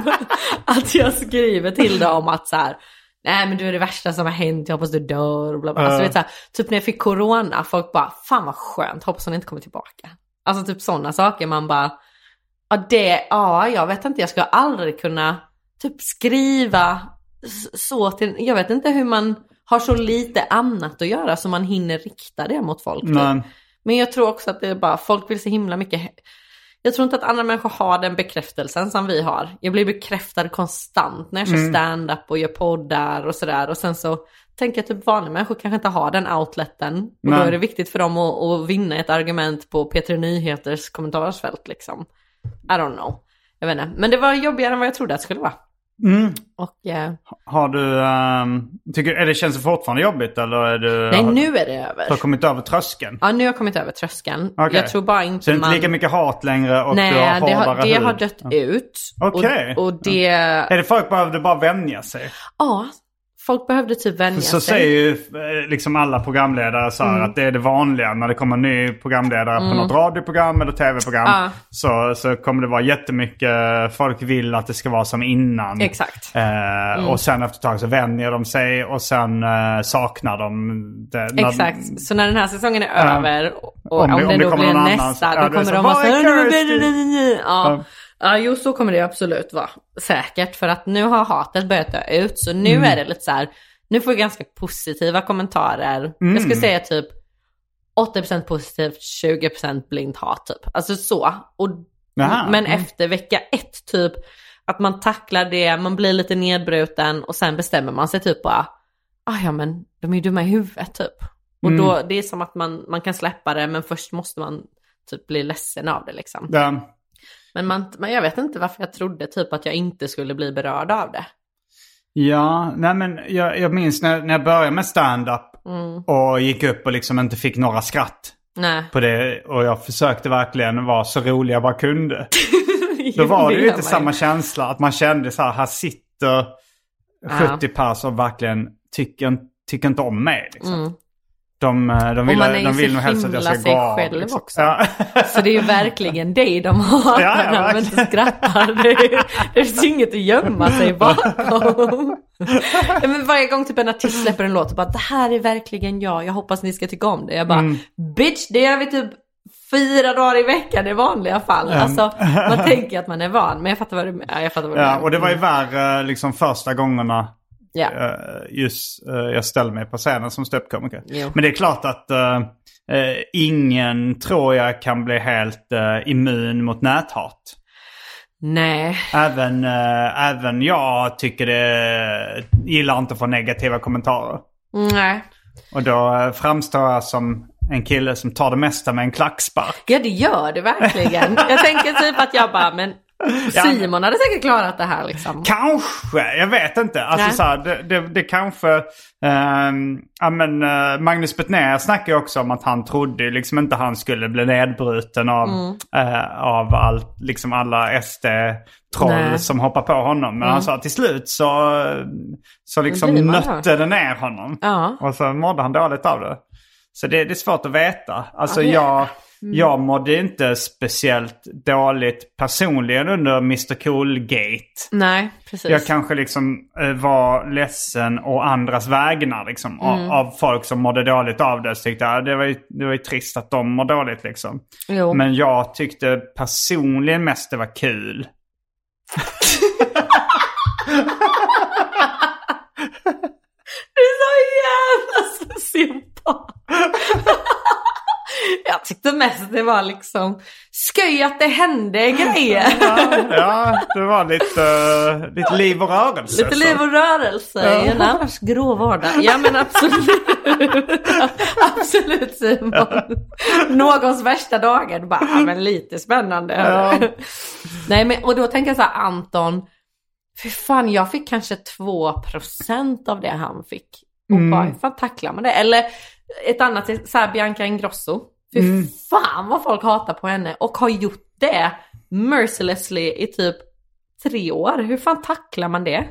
Speaker 2: att jag skriver till dem att så här, nej men du är det värsta som har hänt, jag hoppas du dör. Och bla bla. Alltså,
Speaker 1: Ja.
Speaker 2: du vet, så här, typ när jag fick corona, folk bara, fan vad skönt, hoppas hon inte kommer tillbaka. Alltså typ sådana saker, man bara, ja det, ja jag vet inte, jag skulle aldrig kunna typ skriva s- så till, jag vet inte hur man har så lite annat att göra så man hinner rikta det mot folk. typ.
Speaker 1: Men,
Speaker 2: Men jag tror också att det är bara, folk vill så himla mycket. Jag tror inte att andra människor har den bekräftelsen som vi har. Jag blir bekräftad konstant när jag kör
Speaker 1: Mm.
Speaker 2: stand-up och gör poddar och sådär. Och sen så tänker jag typ vanliga människor kanske inte har den outleten. Och då
Speaker 1: Nej.
Speaker 2: är det viktigt för dem att, att vinna ett argument på P3 Nyheters kommentarsfält liksom. I don't know. Jag vet inte. Men det var jobbigare än vad jag trodde att det skulle vara.
Speaker 1: mm,
Speaker 2: Och eh,
Speaker 1: har du... ehm, tycker, är det, känns det fortfarande jobbigt eller är du...
Speaker 2: nej,
Speaker 1: har,
Speaker 2: nu är det över.
Speaker 1: Du har kommit över tröskeln?
Speaker 2: Ja, nu har jag kommit över tröskeln.
Speaker 1: Okej.
Speaker 2: Jag tror bara inte
Speaker 1: Så det är inte
Speaker 2: man...
Speaker 1: lika mycket hat längre och du har
Speaker 2: Nej, det
Speaker 1: hårdare
Speaker 2: har, det
Speaker 1: hud.
Speaker 2: har dött ut.
Speaker 1: Okej.
Speaker 2: Och, och det...
Speaker 1: Är det folk behövde bara vänja sig?
Speaker 2: Ja, folk behövde typ vänja
Speaker 1: Så
Speaker 2: sig. Mm.
Speaker 1: säger ju eh, liksom alla programledare så här att det är det vanliga när det kommer en ny programledare på något radioprogram eller tv-program.
Speaker 2: Ja.
Speaker 1: Så, så kommer det vara jättemycket, folk vill att det ska vara som innan.
Speaker 2: Exakt. Mm.
Speaker 1: Eh, Och sen efter ett tag så vänjer de sig och sen eh, saknar de det. när-
Speaker 2: Exakt, så när den här säsongen är över och och
Speaker 1: Om
Speaker 2: om,
Speaker 1: det- om
Speaker 2: det
Speaker 1: det
Speaker 2: då
Speaker 1: kommer
Speaker 2: blir
Speaker 1: någon annan så-
Speaker 2: nästa,
Speaker 1: ja, det är
Speaker 2: då kommer
Speaker 1: så,
Speaker 2: de vara
Speaker 1: "Vad
Speaker 2: så
Speaker 1: är
Speaker 2: här... Ja.
Speaker 1: Ja.
Speaker 2: ja, jo så
Speaker 1: Mm.
Speaker 2: kommer det absolut vara. Säkert, för att nu har hatet börjat dö ut. Så nu är det lite så här, Nu får jag ganska positiva kommentarer. Jag
Speaker 1: Mm.
Speaker 2: skulle säga typ 80% positivt, 20% blint hat typ. Alltså så. Och,
Speaker 1: Jaha.
Speaker 2: Mm, men efter vecka ett typ, att man tacklar det, man blir lite nedbruten och sen bestämmer man sig typ bara, ah, ja men de är ju dumma i huvudet typ. Och
Speaker 1: Mm.
Speaker 2: då, det är som att man, man kan släppa det men först måste man typ bli ledsen av det liksom.
Speaker 1: Ja.
Speaker 2: Men, man, men jag vet inte varför jag trodde typ att jag inte skulle bli berörd av det.
Speaker 1: Ja, nej men jag, jag minns när, när jag började med stand-up
Speaker 2: Mm.
Speaker 1: och gick upp och liksom inte fick några skratt
Speaker 2: Nej.
Speaker 1: på det. Och jag försökte verkligen vara så rolig jag bara kunde. Då var det ju inte samma känsla att man kände så här, här sitter 70 pers och verkligen tycker, tycker inte om mig. Liksom. De, eh, de vill,
Speaker 2: Mm. man är ju
Speaker 1: de vill
Speaker 2: så
Speaker 1: nog helst att jag ska gå
Speaker 2: himla sig
Speaker 1: av,
Speaker 2: själv
Speaker 1: liksom.
Speaker 2: också.
Speaker 1: Ja.
Speaker 2: Så det är ju verkligen dig de har
Speaker 1: Ja, ja,
Speaker 2: när de
Speaker 1: verkligen.
Speaker 2: inte skrattar. Det, är- det finns ju inget att gömma sig bakom. Ja, Men varje gång typ en artist släpper en låt och bara det här är verkligen jag, jag hoppas ni ska tycka om det. Jag bara
Speaker 1: Mm.
Speaker 2: bitch det gör vi typ fyra dagar i veckan i vanliga fall.
Speaker 1: Mm.
Speaker 2: Alltså man tänker att man är van men jag fattar vad du menar. Ja, jag fattar vad du
Speaker 1: ja,
Speaker 2: menar.
Speaker 1: och det var ju
Speaker 2: Mm.
Speaker 1: värre liksom första gångerna
Speaker 2: Ja.
Speaker 1: eh, just eh, jag ställde mig på scenen som ståuppkomiker.
Speaker 2: Jo.
Speaker 1: Men det är klart att eh, eh, ingen tror jag kan bli helt eh, immun mot näthat.
Speaker 2: Nej.
Speaker 1: Även, eh, även jag tycker det, gillar inte att få negativa kommentarer.
Speaker 2: Nej.
Speaker 1: Och då eh, framstår jag som en kille som tar det mesta med en klackspark.
Speaker 2: Ja det gör det verkligen. Jag tänker typ att jag bara men Simon hade säkert klarat det här liksom.
Speaker 1: Kanske, jag vet inte. Alltså,
Speaker 2: Nej.
Speaker 1: så här, det, det, det kanske... ehm, ja, men, eh, Magnus Betnér snackar ju också om att han trodde ju liksom inte han skulle bli nedbruten av,
Speaker 2: Mm.
Speaker 1: eh, av all, liksom alla SD-troll
Speaker 2: Nej. Mm.
Speaker 1: som hoppar på honom. Men han sa att till slut så, så liksom
Speaker 2: blir man
Speaker 1: nötte det ner honom.
Speaker 2: Ja.
Speaker 1: Och så mådde han dåligt av det. Så det, det är svårt att veta. Alltså jag,
Speaker 2: Mm.
Speaker 1: jag mådde inte speciellt dåligt personligen under Mr Cool-gate.
Speaker 2: Nej precis.
Speaker 1: Jag kanske liksom eh, var ledsen och andras vägnar liksom. Av,
Speaker 2: Mm.
Speaker 1: av folk som mådde dåligt av det. Så tyckte jag "Ah, det var, ju, det var ju trist att de mår dåligt liksom.
Speaker 2: Jo.
Speaker 1: Men jag tyckte personligen mest det var kul.
Speaker 2: Du är så jävla sociopat. Jag tyckte mest det var liksom skoj att det hände grejer.
Speaker 1: Ja, det var lite, eh, lite liv och rörelse.
Speaker 2: Lite liv och rörelse i en annars grå vardag. Ja men absolut. absolut Simon. Någons värsta dagar. Du Bara, ja, men lite spännande. Nej men och då tänker jag så här Anton. För fan jag fick kanske 2% av det han fick. Och bara hur fan tacklar man det? Eller ett annat, är så här Bianca Ingrosso. Fy fan vad folk hatar på henne och har gjort det mercilessly i typ tre år. Hur fan tacklar man det?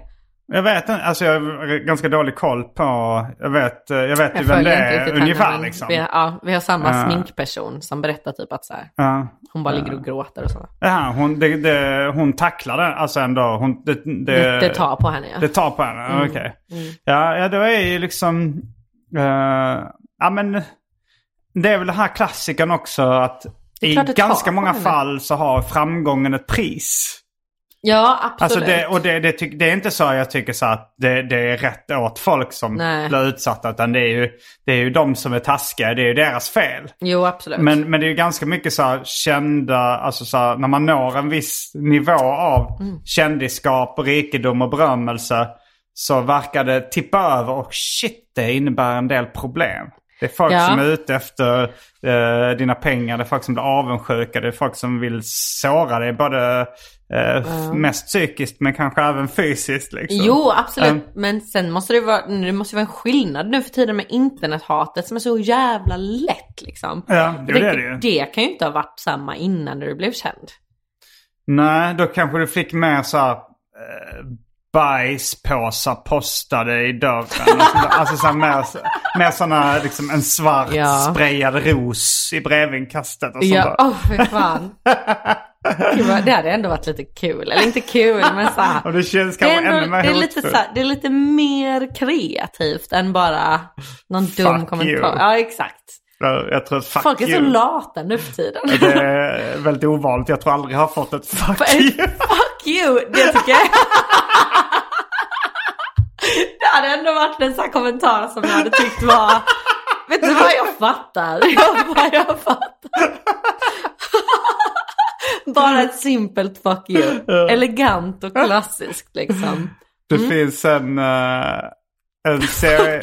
Speaker 1: Jag vet inte, alltså jag har ganska dålig koll på, jag vet, eh, jag vet ju vem det
Speaker 2: följer inte
Speaker 1: är
Speaker 2: riktigt henne,
Speaker 1: ungefär
Speaker 2: men
Speaker 1: liksom.
Speaker 2: Vi, ja, vi har samma
Speaker 1: Ja.
Speaker 2: sminkperson som berättar typ att så här,
Speaker 1: Ja.
Speaker 2: hon bara ligger och gråter och så.
Speaker 1: Ja, hon, det, det, hon tacklar det alltså ändå. Hon, det,
Speaker 2: Det,
Speaker 1: det,
Speaker 2: det tar på henne ja.
Speaker 1: Det tar på
Speaker 2: Mm.
Speaker 1: henne? Okej. Ja, ja, då är ju liksom... eh, ja, men det är väl den här klassikern också att i
Speaker 2: klart det tar
Speaker 1: ganska
Speaker 2: på
Speaker 1: många
Speaker 2: henne.
Speaker 1: fall så har framgången ett pris.
Speaker 2: ja absolut.
Speaker 1: Alltså det, och det, det, tyck, det är inte så jag tycker så att det, det är rätt åt folk som
Speaker 2: Nej.
Speaker 1: blir utsatta. Utan det är, ju, det är ju de som är taskiga, det är ju deras fel.
Speaker 2: Jo absolut.
Speaker 1: Men, men det är ju ganska mycket så här kända, alltså så här, när man når en viss nivå av
Speaker 2: Mm.
Speaker 1: kändisskap, och rikedom och berömmelse så verkar det tippa över och shit det innebär en del problem. Det är folk
Speaker 2: Ja.
Speaker 1: som är ute efter eh, dina pengar, det är folk som blir avundsjuka, det är folk som vill såra dig både eh, f- mest psykiskt men kanske även fysiskt. Liksom.
Speaker 2: Jo absolut.
Speaker 1: Ehm.
Speaker 2: Men sen måste det vara, det måste ju vara en skillnad nu för tiden med internethatet som är så jävla lätt liksom.
Speaker 1: Ja, jo,
Speaker 2: Jag
Speaker 1: det är
Speaker 2: tänker,
Speaker 1: det ju.
Speaker 2: det kan ju inte ha varit samma innan du blev känd.
Speaker 1: Nej, då kanske du fick med så här eh, bajspåsar postade i dörren. alltså så här med, med sådana, liksom en svart
Speaker 2: Ja.
Speaker 1: sprayad ros i brevinkastet och sånt
Speaker 2: Ja,
Speaker 1: där.
Speaker 2: åh fy fan. Gud, vad- det hade ändå varit lite kul, eller inte kul men såhär.
Speaker 1: Och det känns
Speaker 2: Det
Speaker 1: kanske
Speaker 2: är,
Speaker 1: ännu
Speaker 2: ändå,
Speaker 1: mer
Speaker 2: det, är lite
Speaker 1: hotfullt.
Speaker 2: så här, det är lite mer kreativt än bara någon dum
Speaker 1: Fuck
Speaker 2: kommentar.
Speaker 1: you.
Speaker 2: Ja exakt.
Speaker 1: Ja, Jag tror fuck
Speaker 2: Folk är
Speaker 1: you.
Speaker 2: så lata nu för tiden.
Speaker 1: Det är väldigt ovanligt. Jag tror aldrig jag har fått ett fuck you.
Speaker 2: Fuck you, det tycker jag. hade ändå varit en sån här kommentar som jag hade tyckt var... Vet du vad jag fattar? vad jag fattar. Bara ett simpelt fuck you. Elegant och klassiskt liksom.
Speaker 1: Det finns en, eh, en, serie,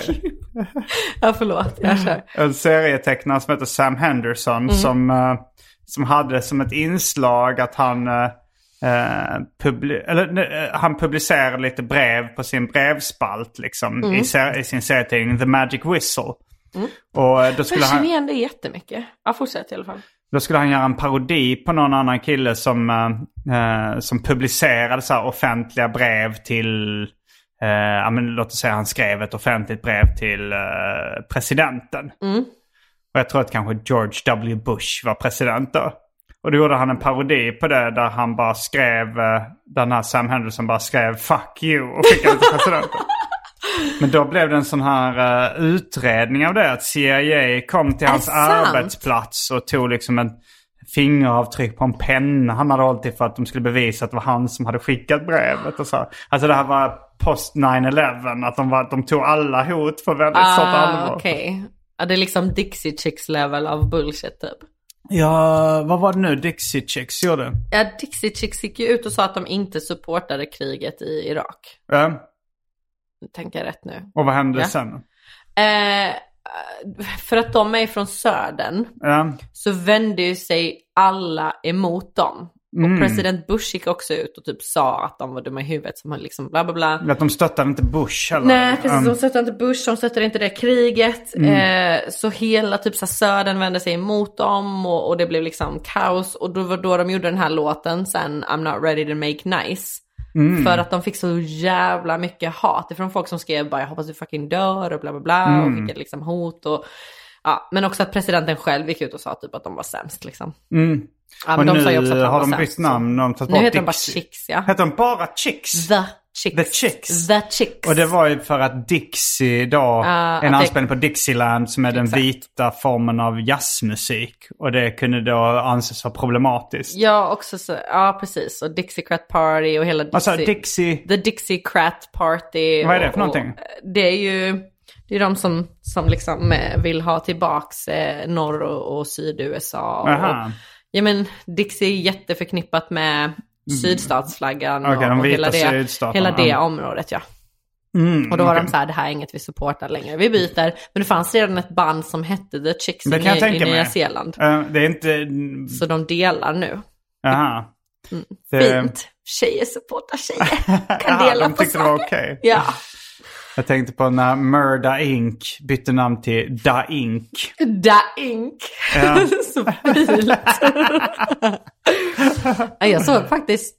Speaker 2: Ja förlåt, jag kör.
Speaker 1: en serietecknare som heter Sam Henderson som, eh, som hade som ett inslag att han, eh, eh, publi- eller, nej, eh, han publicerade lite brev på sin brevspalt liksom, i, ser- i sin serietidning The Magic Whistle. Och eh, då skulle
Speaker 2: Jag
Speaker 1: han...
Speaker 2: känner igen det jättemycket. Ja fortsätt i alla fall.
Speaker 1: Då skulle han göra en parodi på någon annan kille som, eh, eh, som publicerade så här offentliga brev till, eh, ja, men låt oss säga han skrev ett offentligt brev till eh, presidenten.
Speaker 2: Mm.
Speaker 1: Och jag tror att kanske George W. Bush var president då. Och då gjorde han en parodi på det där han bara skrev, eh, där den här Sam Henderson bara skrev 'fuck you' och skickade till presidenten. Men då blev det en sån här eh, utredning av det. Att CIA kom till hans
Speaker 2: det sant?
Speaker 1: arbetsplats och tog liksom en fingeravtryck på en penna han hade hållit i för att de skulle bevisa att det var han som hade skickat brevet. Och så. här. Alltså det här var post 9-11. Att de, var, de tog alla hot på väldigt stort
Speaker 2: Ah,
Speaker 1: allvar.
Speaker 2: Okej. Ja, det är liksom Dixie Chicks level av bullshit typ.
Speaker 1: Ja, vad var det nu Dixie Chicks gjorde?
Speaker 2: Ja, Dixie Chicks gick ju ut och sa att de inte supportade kriget i Irak.
Speaker 1: Eh,
Speaker 2: Tänker jag rätt nu.
Speaker 1: och vad hände
Speaker 2: Ja.
Speaker 1: sen?
Speaker 2: Eh, för att de är från södern
Speaker 1: Ja.
Speaker 2: så vände ju sig alla emot dem.
Speaker 1: Mm.
Speaker 2: Och president Bush gick också ut och typ sa att de var dumma i huvudet som höll liksom bla bla bla.
Speaker 1: Att de stöttade inte Bush heller.
Speaker 2: Nej precis,
Speaker 1: Um, Mm.
Speaker 2: de stöttar inte Bush, de stöttar inte det kriget. Eh, så hela typ så här, södern vände sig emot dem och, och det blev liksom kaos. Och då var då de gjorde den här låten sen, I'm not ready to make nice.
Speaker 1: Mm.
Speaker 2: För att de fick så jävla mycket hat ifrån folk som skrev bara jag hoppas du fucking dör och bla bla bla.
Speaker 1: Mm.
Speaker 2: Och skickade liksom hot och ja. Men också att presidenten själv gick ut och sa typ att de var sämst liksom.
Speaker 1: mm.
Speaker 2: Ja,
Speaker 1: och
Speaker 2: men de
Speaker 1: nu
Speaker 2: sa ju också att han
Speaker 1: har
Speaker 2: var
Speaker 1: de bytt
Speaker 2: sämst, så-
Speaker 1: namn. De tagit
Speaker 2: Nu
Speaker 1: bort
Speaker 2: heter de bara
Speaker 1: Dixie.
Speaker 2: Chicks ja.
Speaker 1: Hette de bara Chicks?
Speaker 2: The Chicks.
Speaker 1: The Chicks.
Speaker 2: The Chicks.
Speaker 1: Och det var ju för att Dixie då,
Speaker 2: Ah, att
Speaker 1: en
Speaker 2: det-
Speaker 1: anspelning på Dixieland som är den
Speaker 2: Exakt.
Speaker 1: vita formen av jazzmusik. Och det kunde då anses vara problematiskt.
Speaker 2: Ja, också så, ja precis. Och Dixiecrat Party och hela Dixie,
Speaker 1: Alltså Dixie,
Speaker 2: The Dixiecrat Party.
Speaker 1: Vad är det
Speaker 2: och-
Speaker 1: för någonting?
Speaker 2: Och, eh, det är ju det är de som, som liksom eh, vill ha tillbaks eh, norr och, och syd-USA. Och,
Speaker 1: Aha.
Speaker 2: ja men Dixie är jätteförknippat med sydstatsflaggan
Speaker 1: Mm. Okej,
Speaker 2: och,
Speaker 1: de
Speaker 2: och hela,
Speaker 1: vita
Speaker 2: det,
Speaker 1: sydstaterna,
Speaker 2: hela det
Speaker 1: ja.
Speaker 2: området ja.
Speaker 1: Mm.
Speaker 2: och då var de så här, det här är inget vi supportar längre, vi byter. Men det fanns redan ett band som hette The Chicks i,
Speaker 1: det kan jag
Speaker 2: Ny- i
Speaker 1: tänka
Speaker 2: Nya
Speaker 1: mig.
Speaker 2: Zeeland.
Speaker 1: Eh, det är inte...
Speaker 2: Så de delar nu.
Speaker 1: Aha. Det-
Speaker 2: Mm. Fint. Tjejer supportar tjejer. Kan
Speaker 1: Aha,
Speaker 2: dela
Speaker 1: Eh. de
Speaker 2: på
Speaker 1: tyckte det var
Speaker 2: saker.
Speaker 1: okej.
Speaker 2: Ja,
Speaker 1: Jag tänkte på när Murda Inc. bytte namn till Da Inc.
Speaker 2: da ink. Så fint. Ja, jag såg faktiskt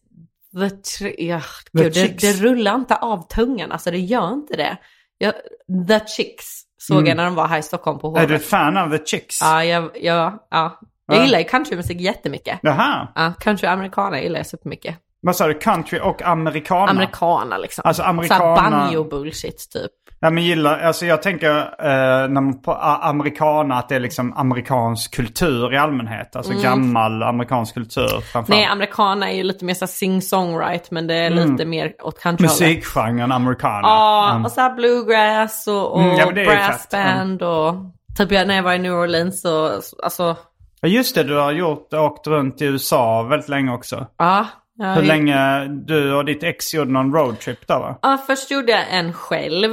Speaker 2: the tri- ja, gud, det,
Speaker 1: Chicks.
Speaker 2: det rullar inte av tungan, alltså det gör inte det. Jag, the Chicks såg jag när de var här i Stockholm på
Speaker 1: Mm. Är du
Speaker 2: Hovet.
Speaker 1: fan av The Chicks?
Speaker 2: Ja, jag, jag, ja. jag
Speaker 1: Ja.
Speaker 2: gillar ju countrymusik jättemycket.
Speaker 1: Jaha.
Speaker 2: Ja, country americana gillar jag supermycket.
Speaker 1: Vad sa du? Country och americana?
Speaker 2: Americana liksom.
Speaker 1: Alltså,
Speaker 2: Så
Speaker 1: americana-
Speaker 2: här banjo bullshit typ.
Speaker 1: Ja, men gillar, alltså jag tänker eh, när man på a- americana att det är liksom amerikansk kultur i allmänhet. Alltså gammal amerikansk kultur
Speaker 2: Mm. Nej,
Speaker 1: framförallt.
Speaker 2: americana är ju lite mer så här sing-songwright, men det är lite mer åt countryhållet.
Speaker 1: Musikgenren americana.
Speaker 2: Ja,
Speaker 1: Mm.
Speaker 2: och så här bluegrass och, och
Speaker 1: Mm, ja, men det är ju fett. Mm.
Speaker 2: brassband och typ jag, när jag var i New Orleans så, så- alltså,
Speaker 1: Ja, Just det, du har gjort, åkt runt i USA väldigt länge också.
Speaker 2: ja. ja,
Speaker 1: Hur
Speaker 2: vi-
Speaker 1: länge du och ditt ex gjorde någon roadtrip där va?
Speaker 2: Ja, först gjorde jag en själv.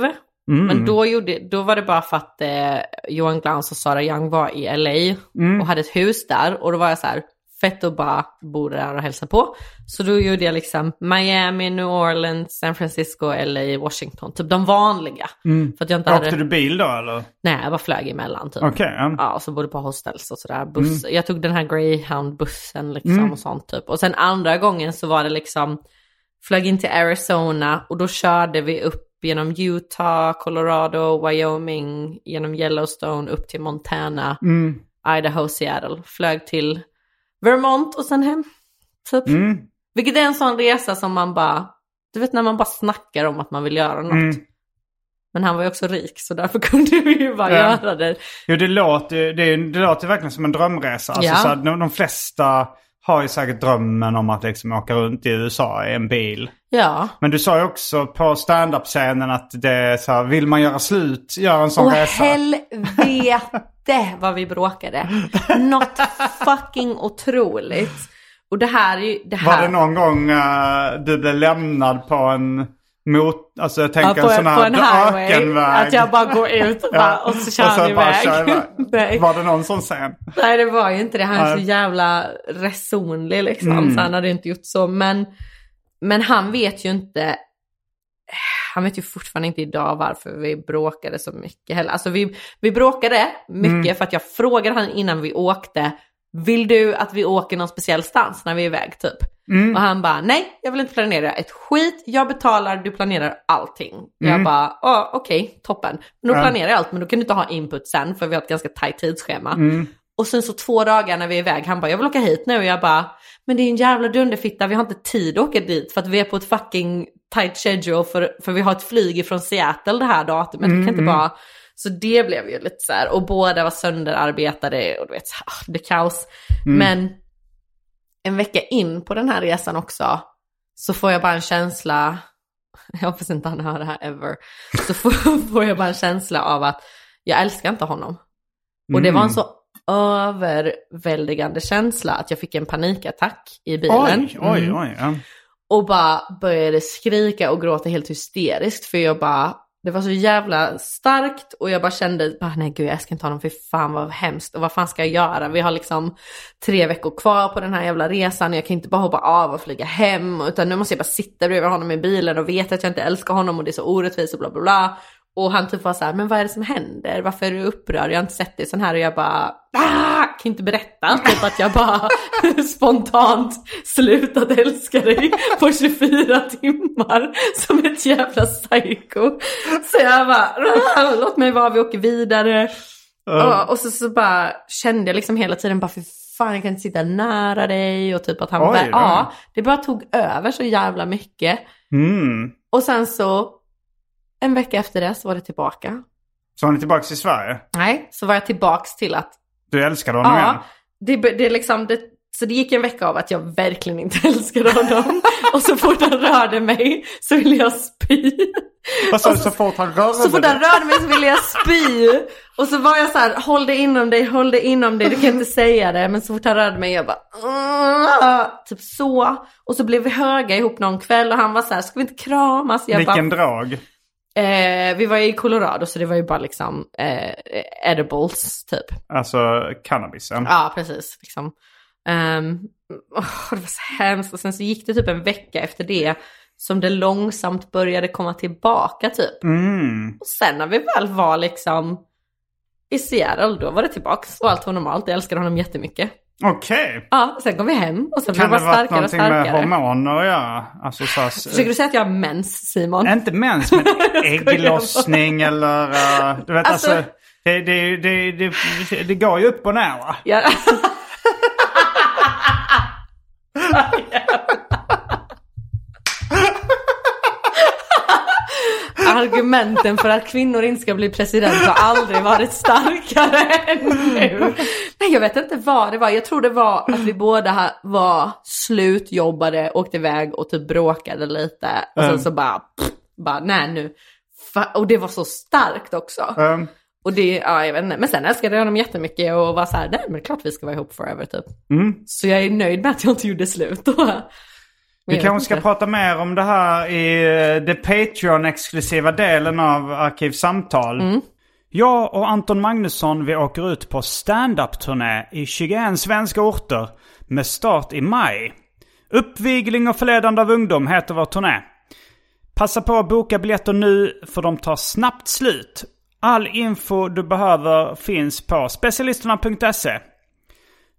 Speaker 1: Mm.
Speaker 2: Men då, gjorde, då var det bara för att eh, Johan Glans och Sara Young var i LA
Speaker 1: Mm.
Speaker 2: och hade ett hus där. Och då var jag så här, fett att bara bo där och hälsa på. Så då gjorde jag liksom Miami, New Orleans, San Francisco, LA, Washington. Typ de vanliga. För att jag inte
Speaker 1: Mm. Åkte
Speaker 2: hade...
Speaker 1: du bil då eller?
Speaker 2: Nej, jag bara flög emellan typ.
Speaker 1: Okej. ja.
Speaker 2: Ja, och så bodde på hostels och sådär. Buss.
Speaker 1: Mm.
Speaker 2: Jag tog den här greyhound-bussen liksom och sånt typ. Och sen andra gången så var det liksom, flög in till Arizona och då körde vi upp genom Utah, Colorado, Wyoming, genom Yellowstone, upp till Montana,
Speaker 1: Mm.
Speaker 2: Idaho, Seattle. Flög till Vermont och sen hem. Typ.
Speaker 1: Mm.
Speaker 2: Vilket är en sån resa som man bara, du vet när man bara snackar om att man vill göra något.
Speaker 1: Mm.
Speaker 2: Men han var ju också rik så därför kunde vi ju bara
Speaker 1: Ja.
Speaker 2: göra det.
Speaker 1: Jo, det låter, det, det låter verkligen som en drömresa. Alltså,
Speaker 2: Ja.
Speaker 1: så att de, de flesta har ju säkert drömmen om att liksom åka runt i USA i en bil.
Speaker 2: Ja.
Speaker 1: Men du sa ju också på stand-up-scenen att det är så här, vill man göra slut, gör en sån
Speaker 2: Åh
Speaker 1: resa.
Speaker 2: helvete vad vi bråkade. Något fucking otroligt. Och det här är ju, det
Speaker 1: Var
Speaker 2: här.
Speaker 1: det någon gång eh, du blev lämnad på en mot... Alltså jag
Speaker 2: Ja,
Speaker 1: tänker
Speaker 2: på,
Speaker 1: en sån
Speaker 2: på en
Speaker 1: här
Speaker 2: highway.
Speaker 1: ökenväg.
Speaker 2: Att jag bara går ut och, bara, och så kör
Speaker 1: och sen
Speaker 2: han
Speaker 1: bara
Speaker 2: iväg.
Speaker 1: kör iväg.
Speaker 2: Nej.
Speaker 1: Var det någon sån scen?
Speaker 2: Nej det var ju inte det. Han är så
Speaker 1: Nej. Mm.
Speaker 2: jävla resonlig liksom. Så han hade inte gjort så. Men, men han vet ju inte. Han vet ju fortfarande inte idag varför vi bråkade så mycket heller. Alltså vi, vi bråkade mycket
Speaker 1: Mm.
Speaker 2: för att jag frågade han innan vi åkte. Vill du att vi åker någon speciell stans när vi är iväg typ?
Speaker 1: Mm.
Speaker 2: Och han bara nej, jag vill inte planera ett skit. Jag betalar, du planerar allting. Jag bara "Ah, okej, toppen. Men då
Speaker 1: Mm. Ja.
Speaker 2: planerar jag allt men då kan du inte ha input sen för vi har ett ganska tajt tidsschema.
Speaker 1: Mm.
Speaker 2: Och sen så två dagar när vi är iväg, han bara jag vill åka hit nu och jag bara men det är en jävla dunderfitta, vi har inte tid att åka dit för att vi är på ett fucking tight schedule för, för vi har ett flyg ifrån Seattle det här datumet. Vi kan inte bara... Så det blev ju lite så här och båda var sönderarbetade och du vet, ah, det är kaos. Men en vecka in på den här resan också så får jag bara en känsla, jag hoppas inte han hör det här ever, så får, får jag bara en känsla av att jag älskar inte honom. Och det var
Speaker 1: Mm.
Speaker 2: en så överväldigande känsla att jag fick en panikattack i bilen. Mm.
Speaker 1: Oj, oj, oj. Ja.
Speaker 2: Och bara började skrika och gråta helt hysteriskt för jag bara, det var så jävla starkt och jag bara kände, bara, nej gud jag älskar inte honom, för fan vad hemskt och vad fan ska jag göra? Vi har liksom tre veckor kvar på den här jävla resan och jag kan inte bara hoppa av och flyga hem utan nu måste jag bara sitta bredvid honom i bilen och veta att jag inte älskar honom och det är så orättvist och bla bla bla. Och han typ var så här, men vad är det som händer? Varför är du upprörd? Jag har inte sett dig sån här och jag bara, ah! kan inte berätta. Typ att jag bara spontant slutat älska dig på 24 timmar som ett jävla psycho. Så jag bara, ah, låt mig vara, vi åker vidare.
Speaker 1: Ja.
Speaker 2: Och, och så, så bara kände jag liksom hela tiden bara, för fan jag kan inte sitta nära dig och typ att han
Speaker 1: Oj,
Speaker 2: bara,
Speaker 1: då.
Speaker 2: ja, det bara tog över så jävla mycket.
Speaker 1: Mm.
Speaker 2: Och sen så, en vecka efter det så var det tillbaka.
Speaker 1: Så hon är tillbaka i Sverige?
Speaker 2: Nej, så var jag tillbaks till att
Speaker 1: Du älskade honom igen?
Speaker 2: Ja, det, det är liksom, det, så det gick en vecka av att jag verkligen inte älskade honom. och så fort han rörde mig så ville jag spy.
Speaker 1: Vad sa
Speaker 2: Och
Speaker 1: du? Så fort han rörde
Speaker 2: Så fort
Speaker 1: dig?
Speaker 2: han rörde mig så ville jag spy. Och så var jag så här, håll det inom dig, håll det inom dig, du kan inte säga det. Men så fort han rörde mig jag bara, "Åh", typ så. Och så blev vi höga ihop någon kväll och han var så här, ska vi inte kramas? Jag bara,
Speaker 1: Vilken drag.
Speaker 2: eh, vi var i Colorado så det var ju bara liksom eh, edibles typ.
Speaker 1: Alltså cannabisen.
Speaker 2: Ja, precis. Liksom. Ehm, åh, det var så hemskt. Och sen så gick det typ en vecka efter det som det långsamt började komma tillbaka typ.
Speaker 1: Mm.
Speaker 2: Och sen när vi väl var liksom i Seattle, då var det tillbaks och allt var normalt. Jag älskade honom jättemycket.
Speaker 1: Okej.
Speaker 2: Ja, sen kom vi hem och sen blev
Speaker 1: Kan
Speaker 2: det bara
Speaker 1: det vara
Speaker 2: starkare och
Speaker 1: någonting med
Speaker 2: starkare.
Speaker 1: hormoner att göra? Alltså så här,
Speaker 2: Försöker du säga att jag har mens, Simon?
Speaker 1: Inte mens, men ägglossning eller... eh, du vet alltså...
Speaker 2: Alltså-
Speaker 1: det, det, det, det, det går ju upp och ner va?
Speaker 2: Ja. Argumenten för att kvinnor inte ska bli president har aldrig varit starkare än nu. Nej jag vet inte vad det var. Jag tror det var att vi båda ha- var slutjobbade, åkte iväg och typ bråkade lite. Och sen så bara, pff, bara nej nu. Fa- Och det var så starkt också.
Speaker 1: Ehm,
Speaker 2: Och det, ja jag vet inte. Men sen älskade jag honom jättemycket och var så här, nej men det är klart vi ska vara ihop forever typ. Så jag är nöjd med att jag inte gjorde slut då. Men
Speaker 1: Mm. vi
Speaker 2: jag
Speaker 1: kanske
Speaker 2: vet
Speaker 1: ska
Speaker 2: inte.
Speaker 1: prata mer om det här i eh, det Patreon-exklusiva delen av Arkivsamtal.
Speaker 2: Mm.
Speaker 1: Jag och Anton Magnusson vi åker ut på stand-up-turné i 21 svenska orter med start i maj. Uppvigling och förledande av ungdom heter vår turné. Passa på att boka biljetter nu för de tar snabbt slut. All info du behöver finns på specialisterna.se.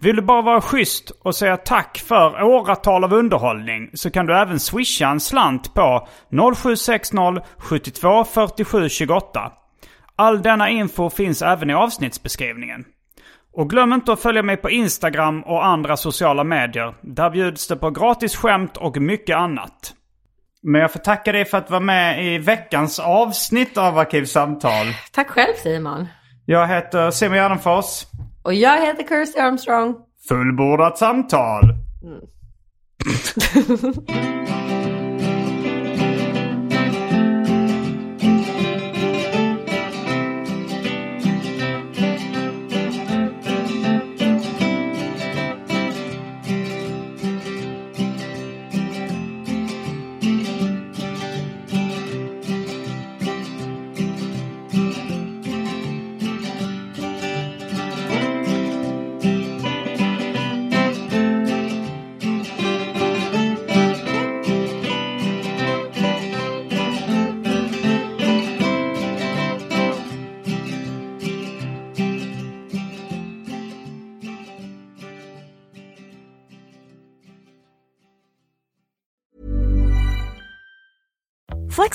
Speaker 1: Vill du bara vara schysst och säga tack för åratal av underhållning så kan du även swisha en slant på 0760 72 47 28. All denna info finns även i avsnittsbeskrivningen. Och glöm inte att följa mig på Instagram och andra sociala medier. Där bjuds det på gratis skämt och mycket annat. Men jag får tacka dig för att vara med i veckans avsnitt av Arkivsamtal.
Speaker 2: Tack själv Simon.
Speaker 1: Jag heter Simon Gärdenfors.
Speaker 2: Och jag heter Kirsty Armstrong.
Speaker 1: Fullbordat samtal.